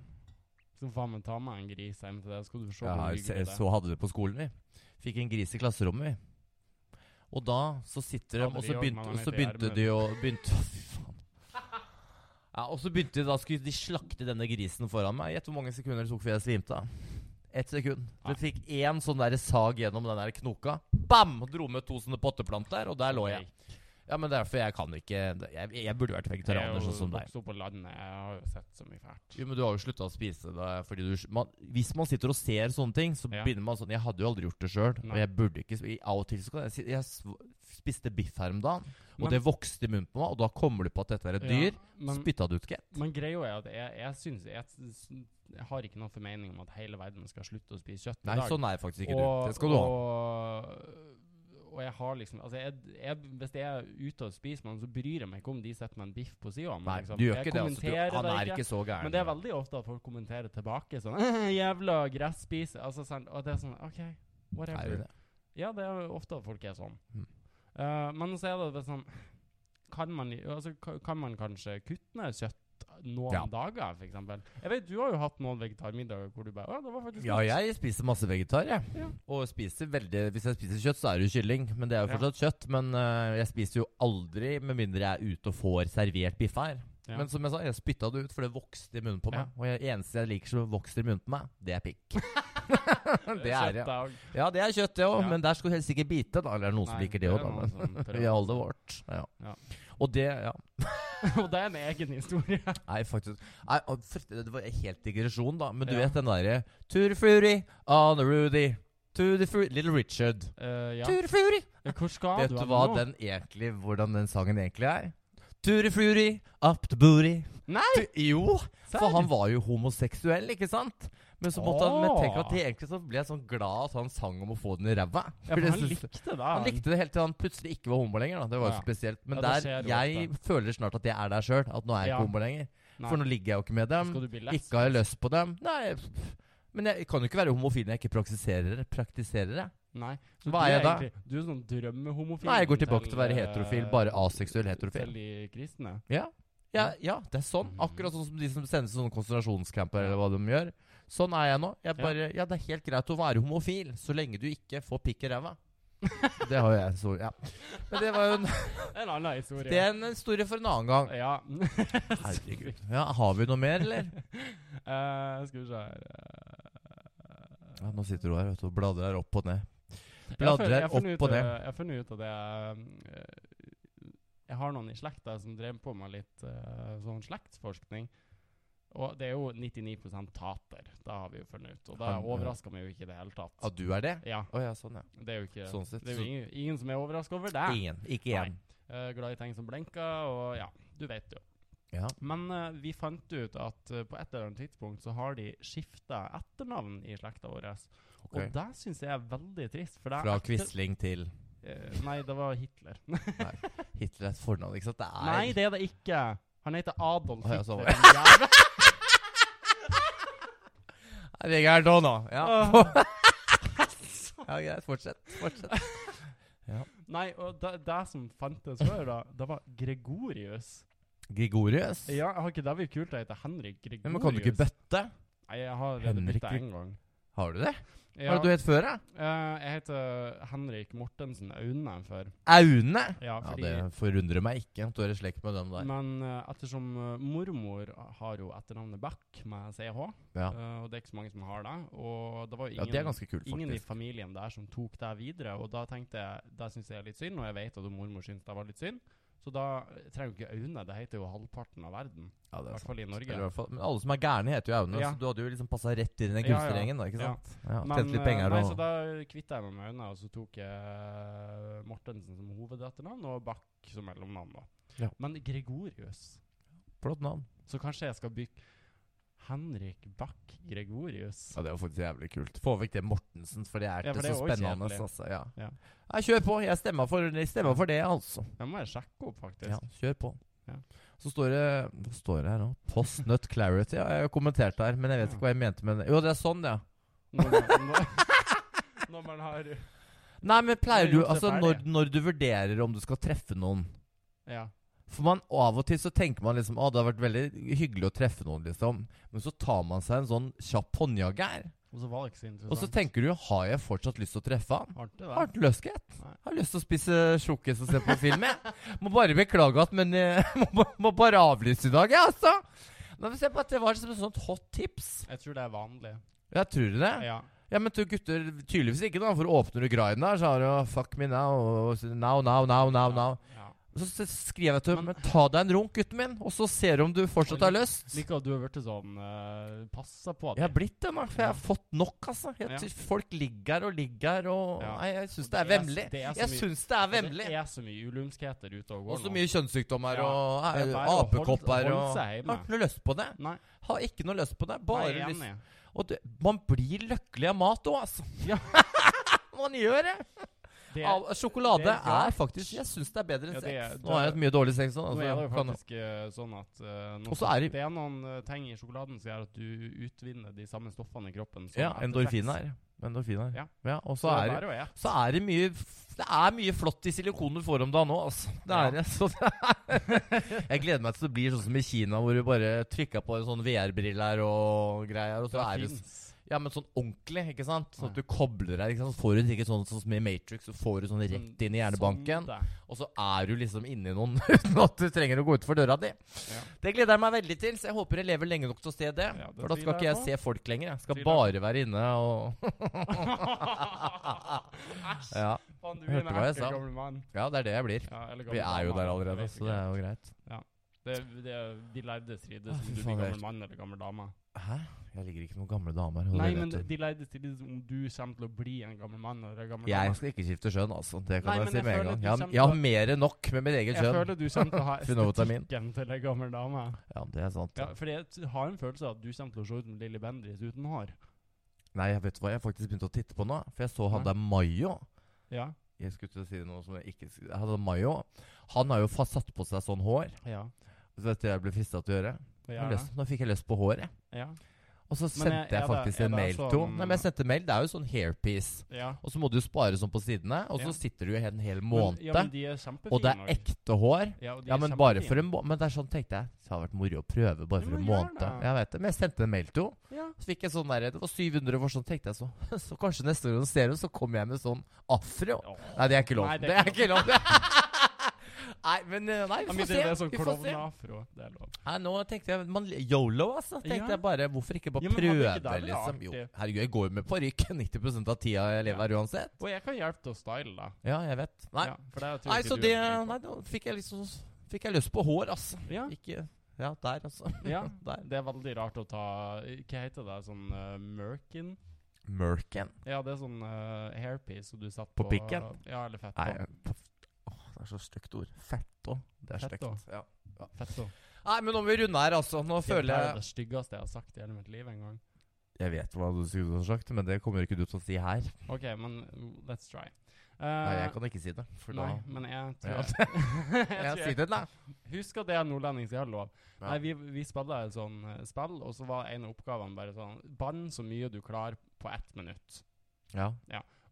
A: så faen meg ta med en gris hjem til deg, så skal du se
B: Ja,
A: hvor
B: jeg
A: hyggelig det er.
B: så hadde vi det på skolen, vi. Fikk en gris i klasserommet, vi. Og da så sitter de,
A: Hadde
B: og
A: vi
B: så
A: også,
B: begynte,
A: men
B: og
A: han heter
B: så begynte
A: Gjermund.
B: de å begynte, *laughs* Fy faen. Ja, Og så begynte de da skulle de slakte denne grisen foran meg. Gjett hvor mange sekunder det tok før jeg svimte av. Ett sekund.
A: Nei.
B: Det fikk én sånn der sag gjennom den der knoka. Bam! Og Dro med to sånne potteplanter, og der lå jeg. Ja, men derfor jeg kan ikke Jeg, jeg burde vært
A: Jeg er
B: vegetarianer,
A: jo
B: sånn som deg.
A: vokst opp på landet, jeg har jo sett så mye fælt.
B: Jo, men du har jo slutta å spise det fordi du man, Hvis man sitter og ser sånne ting, så
A: Ja.
B: begynner man sånn Jeg hadde jo aldri gjort det sjøl, og
A: Nei.
B: jeg burde ikke sp- i- Av og til så kan jeg si Jeg sv- spiste biff her om dagen,
A: Men-
B: og det vokste i munnen på meg, og da kommer du på at dette er et dyr.
A: Ja, men,
B: Spytta du ut ikke?
A: men greia er at jeg, jeg syns jeg, s- jeg har ikke noen formening om at hele verden skal slutte å spise kjøtt i
B: Nei,
A: dag.
B: sånn er faktisk ikke du. Det skal du ha.
A: Og, og jeg har liksom Altså, jeg, jeg, hvis jeg er ute og spiser med noen, så bryr jeg meg ikke om de setter meg liksom. en biff på sida.
B: Nei, du gjør ikke det. Altså, du, han er ikke så gæren.
A: Men det er veldig ofte at folk kommenterer tilbake sånn *laughs* «Eh, 'Jævla gresspiser'. Altså, sånn, og det er sånn OK,
B: Er det
A: whatever.
B: det?
A: Ja, det er jo ofte at folk er sånn.
B: Mm.
A: Eh, men så er det bare sånn kan man, altså, ka- kan man kanskje kutte ned kjøtt noen
B: Ja.
A: dager, for eksempel? Jeg vet, Du har jo hatt noen vegetarmiddager hvor du bare Å, det var faktisk
B: Ja,
A: godt».
B: jeg spiser masse vegetar, jeg.
A: Ja.
B: Og spiser veldig Hvis jeg spiser kjøtt, så er det jo kylling. Men det er jo
A: Ja.
B: fortsatt kjøtt. Men øh, jeg spiser jo aldri med mindre jeg er ute og får servert biff her.
A: Ja.
B: Men som jeg sa, jeg spytta det ut, for det vokste i munnen på
A: Ja.
B: meg. Og jeg, eneste jeg liker som vokser i munnen på meg, det er pikk. det er
A: Kjøtt er
B: ja.
A: jo-
B: ja, det er kjøtt, det òg.
A: Ja.
B: Men der skal du helst ikke bite, da. Eller er det noen som
A: Nei,
B: liker det
A: er
B: òg, da.
A: noen
B: Men
A: som prøver.
B: vi holder vårt. *laughs* Ja.
A: Ja.
B: Og det Ja.
A: *laughs* Og det er en egen historie.
B: Nei, faktisk Nei, og for, Det var helt digresjon, da. Men du
A: Ja.
B: vet den derre To the Fury, on the Rudy. To the Fury Little Richard.
A: Eh, ja.
B: To the Fury.
A: Hvor skal
B: vet
A: du
B: du
A: hen
B: hva
A: nå?
B: den egentlig, hvordan den sangen egentlig er? To the Fury, up the booty.
A: Nei!
B: Tu- jo,
A: Serr?
B: for han var jo homoseksuell, ikke sant? Men så måtte han Men tenk at det egentlig så ble jeg sånn glad at han sang om å få den i ræva.
A: ja,
B: For
A: for
B: det
A: han
B: synes-
A: likte det.
B: han likte det helt til han plutselig ikke var homo lenger. da Det var jo
A: Ja.
B: spesielt. Men
A: Ja, det skjer
B: der,
A: jo
B: jeg føler snart at jeg er der sjøl. At nå er jeg
A: Ja.
B: ikke homo lenger.
A: Nei.
B: For nå ligger jeg jo ikke med dem.
A: Skal du liksom? bli lesbisk?
B: Ikke har jeg lyst på dem. Nei, pff. men jeg kan jo ikke være homofil når jeg ikke praktiserer praktiserer det.
A: Nei. Så
B: Hva
A: du
B: er jeg da?
A: egentlig- Du er sånn drømmehomofil. eh,
B: Nei, jeg går tilbake til å være heterofil, bare aseksuell heterofil.
A: Til de kristne.
B: Ja. Ja, ja, det er sånn. Akkurat sånn som de som sendes sånne konsentrasjonscamper, eller hva de gjør. Sånn er jeg nå. Jeg
A: Ja.
B: bare, ja, det er helt greit å være homofil, så lenge du ikke får pikk i
A: *laughs*
B: ræva. Det har jeg, så ja. Men det var jo en,
A: En annen historie.
B: det er en historie for en annen gang.
A: Ja.
B: Herregud. Ja, har vi noe mer, eller?
A: Eh, skal vi se her eh.
B: Ja, nå sitter hun her vet du, og bladrer opp og ned.
A: Jeg har funnet- jeg
B: Bladrer
A: har funnet
B: opp
A: ut,
B: og ned.
A: eh, Jeg har funnet ut at jeg eh, Jeg har noen i slekta som drev på med litt eh, sånn slektsforskning. Og det er jo 99 tater, da har vi jo funnet ut. Og det
B: Han- ja.
A: overrasker meg jo ikke i det hele tatt.
B: At du er det?
A: Ja,
B: Å ja, sånn, ja.
A: det er jo ikke
B: Sånn sett,
A: Det er jo
B: så-
A: ingen, ingen som er overraska over det.
B: Ingen. Ikke én.
A: Eh, glad i ting som blinker, og ja, du vet jo.
B: Ja.
A: Men eh, vi fant ut at eh, på et eller annet tidspunkt så har de skifta etternavn i slekta vår.
B: Ok.
A: Og det syns jeg er veldig trist. For det er
B: Fra
A: etter-
B: Quisling til
A: Eh, nei, det var Hitler.
B: Hitler er et fornavn, ikke sant? Det er
A: Nei, det er det ikke. Han heter Adolf
B: Å, ja, så
A: Hitler.
B: var
A: Jævla-
B: Er det gærent òg nå? Ja.
A: Åh.
B: *laughs* ja, greit. Fortsett. Fortsett.
A: Nei, og det, det som fantes før, da, det var Gregorius.
B: Gregorius?
A: Ja, jeg har ikke det vært kult å hete Henrik Gregorius?
B: Men kan du ikke bøtte?
A: Nei, jeg har
B: Henrik
A: Henrik
B: Gre-
A: en gang.
B: Har du det?
A: Ja,
B: Hva er det du het før, da?
A: eh, jeg heter Henrik Mortensen Aune før.
B: Aune?
A: Ja,
B: Ja,
A: fordi
B: det forundrer meg ikke at du er i slekt med dem der.
A: Men eh, ettersom eh, mormor har jo etternavnet Back med CH,
B: Ja.
A: eh, og det er ikke så mange som har det Og det var jo
B: Ja,
A: ingen,
B: det er ganske kult,
A: ingen i
B: faktisk.
A: familien der som tok det videre, og da tenkte jeg det syns jeg er litt synd, og jeg vet at mormor syns det var litt synd. Så da eh, trenger jo ikke Aune, det heter jo halvparten av verden.
B: Ja,
A: I
B: det er
A: hvert
B: sant.
A: fall i Norge.
B: Eller i hvert fall, men alle som er gærne, heter jo Aune,
A: Ja.
B: så du hadde jo liksom passa rett inn i den
A: Ja, ja.
B: kunstnergjengen, da, ikke
A: Ja.
B: sant? Ja,
A: Men,
B: Tjente litt
A: eh,
B: penger
A: nei,
B: og
A: så da kvitta jeg meg med Aune, og så tok jeg Mortensen som hovedetternavn og Back som mellomnavn. da.
B: Ja.
A: Men Gregorius
B: Flott navn.
A: Så kanskje jeg skal bygge Henrik Back Gregorius.
B: Ja, det var faktisk jævlig kult. Få vekk det Mortensen, for det er
A: Ja, for
B: ikke
A: det er
B: så
A: også
B: spennende.
A: kjedelig.
B: Altså, ja.
A: Ja.
B: Nei, kjør på. Jeg stemmer for, jeg stemmer for det, altså.
A: Det må jeg sjekke opp, faktisk.
B: Ja, kjør på.
A: Ja.
B: Så står det Hva står det her nå? Post Nut Clarity. Ja, jeg har kommentert der, men jeg vet ikke hva jeg mente med det. Jo, det er sånn, ja.
A: Når, man- når, *laughs* når man har
B: Nei, men pleier
A: Nei,
B: du
A: Josef,
B: Altså,
A: er
B: når,
A: det?
B: når du vurderer om du skal treffe noen
A: Ja.
B: For man, og av og til så tenker man liksom Å, det har vært veldig hyggelig å treffe noen, liksom. Men så tar man seg en sånn kjapp håndjager.
A: Og så var det ikke så
B: Og så
A: interessant.
B: tenker du Har jeg fortsatt lyst til å treffe han?
A: Artig,
B: Har
A: det.
B: du lyst, gitt?
A: Nei.
B: Har lyst til å spise sjokkis og se på film, jeg. *laughs* Må bare beklage at Men eh, *laughs* må, ba- må bare avlyse i dag, jeg, altså. Nei, men se på at Det var liksom et sånt hot tips.
A: Jeg tror det er vanlig.
B: Ja, tror du det? Ja,
A: Ja.
B: men du gutter Tydeligvis ikke, da. For åpner du griden der, så har du Fuck me now. og- Now, now, now, now. now.
A: ja.
B: Så s- skriver jeg til ham Ta deg en runk, gutten min, og så ser du om du fortsatt har lyst.
A: Liker at du har blitt sånn uh, passa på
B: Jeg har
A: deg.
B: blitt det, nå, for jeg har fått nok, altså. Jeg,
A: Ja.
B: ty- Folk ligger og ligger og
A: Ja.
B: Nei, jeg
A: Og
B: syns det
A: det
B: er
A: er s-
B: vemmelig.
A: det er så
B: Jeg
A: mye-
B: syns det er vemmelig.
A: Det er så mye ulumskheter ute og går
B: Og så
A: nå.
B: mye kjønnssykdommer
A: Ja,
B: og
A: det er bare
B: eh,
A: å holde-
B: apekopper
A: holde
B: og
A: seg
B: Har
A: hjemme.
B: ikke noe lyst på det.
A: Nei,
B: Har ikke noe lyst på det.
A: bare
B: Bare lyst
A: enig.
B: Og det, man blir lykkelig av mat òg, altså.
A: *laughs* Ja.
B: *laughs* man gjør det.
A: Det,
B: Av, sjokolade
A: det er
B: er,
A: rart.
B: faktisk Jeg syns det er bedre enn
A: Ja, det er-
B: sex.
A: det
B: Nå har jeg
A: er-
B: hatt mye dårlig sex nå.
A: nå
B: Altså,
A: er det jo
B: jeg kan-
A: faktisk eh, sånn at eh, noen-
B: Og så er det-
A: det er noen eh, ting i sjokoladen som gjør at du utvinner de samme stoffene i kroppen. som
B: ja,
A: etter sex.
B: endorfin her. Endorfin her.
A: Ja.
B: og
A: Så,
B: så er,
A: det
B: det-
A: er jo
B: så er det mye Det er mye flott i silikonen du får om dagen nå, altså. Det er
A: Ja.
B: det. Så det er, *laughs* jeg gleder meg til det blir sånn som i Kina, hvor du bare trykker på en sånn VR-brille her og greier, og så er det Ja, men sånn ordentlig, ikke sant? Sånn at du kobler deg. ikke sant? Så får du sikkert sånn, sånn som i Matrix, så får du sånn rett inn
A: sånn
B: i hjernebanken. *laughs* Og så er du liksom inni noen *laughs* uten at du trenger å gå ut for døra di.
A: Ja.
B: Det gleder jeg meg veldig til, så jeg håper jeg lever lenge nok til å se det.
A: Ja, det
B: for da skal
A: tviler
B: ikke
A: jeg
B: jeg
A: på.
B: se folk lenger. Jeg skal
A: Tviler.
B: bare være inne og
A: *laughs*
B: *laughs*
A: Æsj!
B: ja.
A: Faen, du
B: Hørte
A: er en
B: hva jeg
A: ekkel
B: sa.
A: gammel mann.
B: ja, det er det jeg blir.
A: Ja, eller gammel
B: Vi er
A: dame,
B: jo der
A: jeg
B: allerede,
A: vet
B: så
A: ikke.
B: det er jo greit.
A: det, det, De lærde strides
B: Å, fy
A: om du
B: faen,
A: blir
B: det er
A: gammel mann eller gammel dame.
B: Hæ? Jeg ligger ikke med noen gamle damer. og det
A: Nei,
B: vet
A: men
B: du.
A: de lærde strides om du kommer til å bli en gammel mann eller en gammel
B: Jeg
A: dame.
B: skal ikke skifte skjønn, altså. Det kan
A: Nei,
B: jeg
A: men
B: si
A: jeg
B: med en
A: føler
B: gang.
A: at du
B: Jeg, har-
A: kommer
B: jeg har
A: til-
B: mer enn nok med mitt eget
A: Jeg
B: skjønn.
A: føler du kommer
B: *laughs*
A: til å ha
B: If you know what I mean.
A: estetikken til en gammel dame.
B: Ja, det er sant.
A: Ja, for jeg har en følelse av at du kommer til å se ut som Lilly Bendriss uten hår.
B: Nei, jeg vet hva jeg faktisk begynte å titte på nå. For jeg så han
A: Nei.
B: der Mayo.
A: Ja.
B: Jeg skulle til å si noe som jeg ikke skulle Han der Mayo Han har jo fa- satt på seg sånn hår.
A: Ja.
B: Så vet du hva jeg ble frista til å gjøre?
A: Det
B: Jeg har
A: gjør det.
B: lyst- Nå fikk jeg lyst på håret.
A: Ja.
B: Og
A: Men
B: så
A: er-
B: sendte jeg
A: er det-
B: faktisk
A: er
B: en
A: det
B: mail
A: sånn-
B: til henne. Nei, men jeg sendte mail. Det er jo sånn hairpiece.
A: ja.
B: Og så må du jo spare sånn på sidene. Og så
A: Ja.
B: sitter du jo en hel
A: Men, ja, men
B: måned.
A: de er kjempefine.
B: Og det er ekte hår.
A: Ja, og de
B: Ja,
A: er
B: men bare
A: kjempefine.
B: for en måned. Men det er sånn tenkte jeg. Det hadde vært moro å prøve bare
A: Ja,
B: for en
A: men gjør
B: måned.
A: det.
B: Jeg vet det. Men jeg sendte en mail til henne.
A: ja.
B: Så fikk jeg sånn der, Det var 700 for sånn, tenkte jeg så. *laughs* Så kanskje neste gang du ser henne, så kommer jeg med sånn afro.
A: Åh.
B: Nei, det er ikke lov.
A: Nei,
B: det, er ikke lov. *laughs* Nei, men eh, nei,
A: Ja,
B: vi
A: men det
B: får se.
A: er sånn
B: Vi får se.
A: klovneafro. Det er lov.
B: Nei, nå tenkte jeg man, Yolo, altså. Tenkte
A: Ja.
B: jeg bare, Hvorfor ikke bare
A: Ja, men hadde
B: prøve,
A: ikke det vært
B: liksom?
A: artig?
B: Jo, herregud, jeg går jo med parykk *laughs* 90 av tida jeg lever
A: Ja.
B: her uansett.
A: Og jeg kan hjelpe til å style deg.
B: Ja, jeg vet. Nei,
A: Ja, for det tror
B: nei
A: jeg ikke
B: så
A: du
B: det
A: er flink
B: Nei, nå fikk jeg liksom Fikk jeg lyst på hår, altså.
A: på. ja.
B: Ikke Ja, der, altså.
A: ja.
B: *laughs* Der.
A: Det er veldig rart å ta Hva heter det? Sånn eh, merkin?
B: Merken.
A: Ja, det er sånn eh, hairpiece som du setter
B: På
A: på
B: pikken?
A: Ja, eller fett på.
B: Nei, åh, det er så stygt ord. Fett òg. Det er
A: Fett
B: stygt. Ja.
A: Fett på.
B: Nei, men nå må vi runde her, altså. Nå
A: Det
B: føler
A: er
B: jeg
A: det styggeste jeg har sagt i hele mitt liv en gang.
B: Jeg vet hva du skulle ha sagt, men det kommer ikke du til å si her.
A: OK, men mm, let's try. Eh,
B: Nei, jeg kan ikke si det. For da
A: nei, men jeg tror
B: Ja.
A: jeg, *laughs* jeg,
B: *laughs* Jeg
A: tror
B: sier det, da.
A: jeg Husker det er nordlending som har lov.
B: Ja.
A: Nei, vi, vi spilte et sånn eh, spill, og så var en av oppgavene bare sånn Bann så mye du klarer på ett minutt.
B: Ja.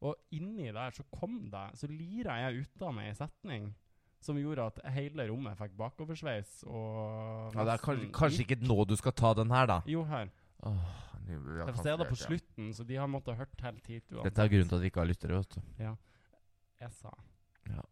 A: Og inni der så kom det Så lira jeg ut av meg en setning som gjorde at hele rommet fikk bakoversveis og
B: Ja, det er kanskje, kanskje ikke nå du skal ta den her, da.
A: Jo, her.
B: Åh,
A: Jeg får se det på slutten, så de har måttet hørt helt hit
B: Dette er grunnen til at vi ikke har lyttere, vet du.
A: Jeg sa
B: Ja.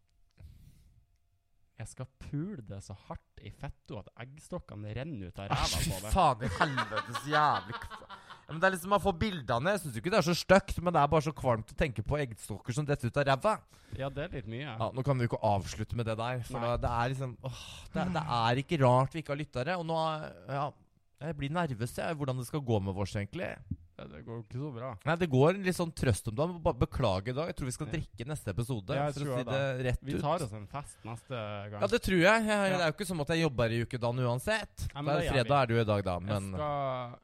A: Jeg skal pule det så hardt i fetto at eggstokkene renner ut av ræva
B: Ah, Fy
A: på det.
B: faen i helvetes jævlig kva- ja, men Det er liksom Man får bildene. Jeg syns ikke det er så stygt, men det er bare så kvalmt å tenke på eggstokker som detter ut av ræva.
A: Ja, det er litt mye.
B: Ja, nå kan vi jo ikke avslutte med det der, for da,
A: Nei.
B: det er liksom åh, det, det er ikke rart vi ikke har lyttere. Og nå er- Ja. Jeg blir nervøs, jeg. Hvordan det skal gå med vårs, egentlig.
A: Det, det går jo ikke så bra.
B: Nei, Det går en litt sånn trøst om dagen. Bare beklage i dag. Jeg tror vi skal drikke neste episode.
A: Ja, jeg
B: for å
A: tror
B: si
A: det.
B: det rett
A: Vi
B: ut.
A: tar oss en fest neste gang.
B: Ja, det tror jeg. jeg
A: Ja.
B: Det er jo ikke som at jeg jobber i ukedagen uansett.
A: Nei, men
B: det
A: det
B: er
A: gjør
B: fredag
A: vi.
B: er det jo i dag, da. Men
A: Jeg skal øh,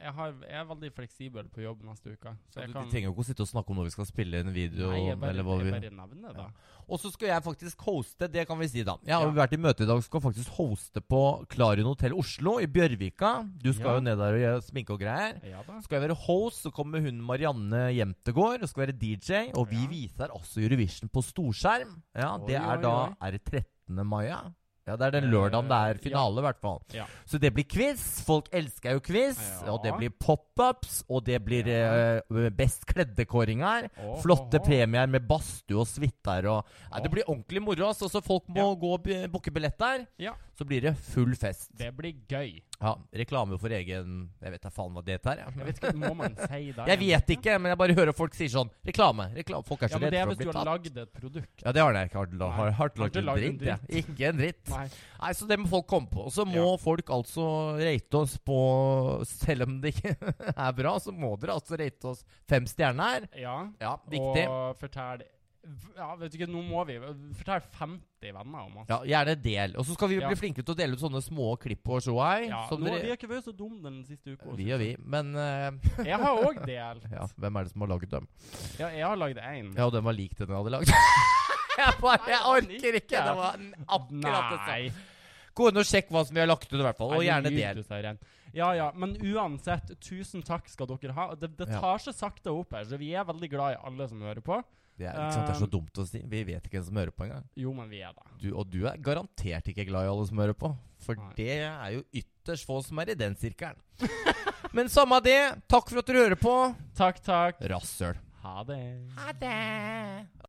A: jeg, har, jeg er veldig fleksibel på jobb neste uke. Så jeg
B: du,
A: kan
B: vi trenger jo ikke å sitte og snakke om når vi skal spille en video.
A: Nei, jeg bare,
B: eller hva
A: jeg
B: vi...
A: bare nevner det.
B: Og så skal jeg faktisk hoste, det kan vi si, da. Jeg har jo
A: Ja.
B: vært i møte i dag, skal faktisk hoste på Klarion hotell Oslo i Bjørvika. Du skal
A: Ja.
B: jo ned der og gjøre sminke og greier.
A: Ja da.
B: Skal jeg være host, så kommer hun Marianne Jemtegård og skal være DJ. Og vi
A: Ja.
B: viser også Eurovision på storskjerm. Ja,
A: Oi,
B: det
A: oi,
B: er da
A: oi.
B: Er det 13. mai, ja? Ja, det er den
A: Eh,
B: lørdagen det er
A: ja.
B: finale, i hvert fall.
A: Ja.
B: Så det blir quiz. Folk elsker jo quiz.
A: Ja.
B: Og det blir pop-ups, og det blir
A: Ja.
B: eh, best kledde-kåringer.
A: Åh,
B: Flotte
A: åh, åh.
B: premier med badstue og suiter og Nei, Det
A: Åh.
B: blir ordentlig moro. ass. Så folk må gå og be- booke billetter.
A: Ja.
B: Så blir det full fest.
A: Det blir gøy.
B: Ja, Reklame for egen Jeg vet da faen hva det er.
A: Jeg
B: Jeg.
A: vet ikke, Må man si det?
B: jeg vet ikke, men jeg bare hører folk sier sånn. Reklame. reklame. Folk er
A: Ja,
B: så
A: men Det
B: redde
A: er
B: for å
A: hvis du
B: bli
A: har
B: tatt.
A: lagd et produkt.
B: Ja, det har jeg ikke. Har, har, har,
A: Har ikke
B: lagd en
A: lagd en
B: dritt, jeg. Ikke en dritt.
A: Nei.
B: Nei, så det må folk komme på. Og så må
A: Ja.
B: folk altså rate oss på Selv om det *laughs* ikke er bra, så må dere altså rate oss fem stjerner.
A: Ja.
B: Ja, viktig.
A: Og fortell Ja, vet du ikke, nå må vi Fortell 50 venner om oss.
B: Ja, Gjerne del. Og så skal vi
A: Ja.
B: bli flinkere til å dele ut sånne små klipp og showei.
A: Ja,
B: som
A: nå,
B: dere-
A: Vi har ikke vært så dumme den siste uka.
B: vi og vi. Men eh,
A: Jeg har òg delt.
B: *laughs* ja, hvem er det som har lagd dem?
A: Ja, jeg har lagd én.
B: Ja, og den var lik den jeg hadde lagd. *laughs* jeg bare jeg
A: Nei, den
B: orker
A: ikke.
B: ikke! Det var n- akkurat det samme.
A: Nei.
B: Gå inn og sjekk hva som vi har lagt ut, i hvert fall. Og
A: Nei,
B: gjerne
A: nå lyver
B: del.
A: du, sier jeg. Ja, ja, men uansett, tusen takk skal dere ha. Det, det
B: Ja.
A: tar seg sakte opp her, så vi er veldig glad i alle som hører på.
B: Det er, ikke sant, det er så dumt å si. Vi vet ikke hvem som hører på engang.
A: Jo, men vi er det.
B: Du, og du er garantert ikke glad i alle som hører på. For
A: Nei.
B: det er jo ytterst få som er i den sirkelen. *laughs* Men samme det. Takk for at dere hører på.
A: Takk, takk.
B: Rasshøl.
A: Ha det.
B: Ha det.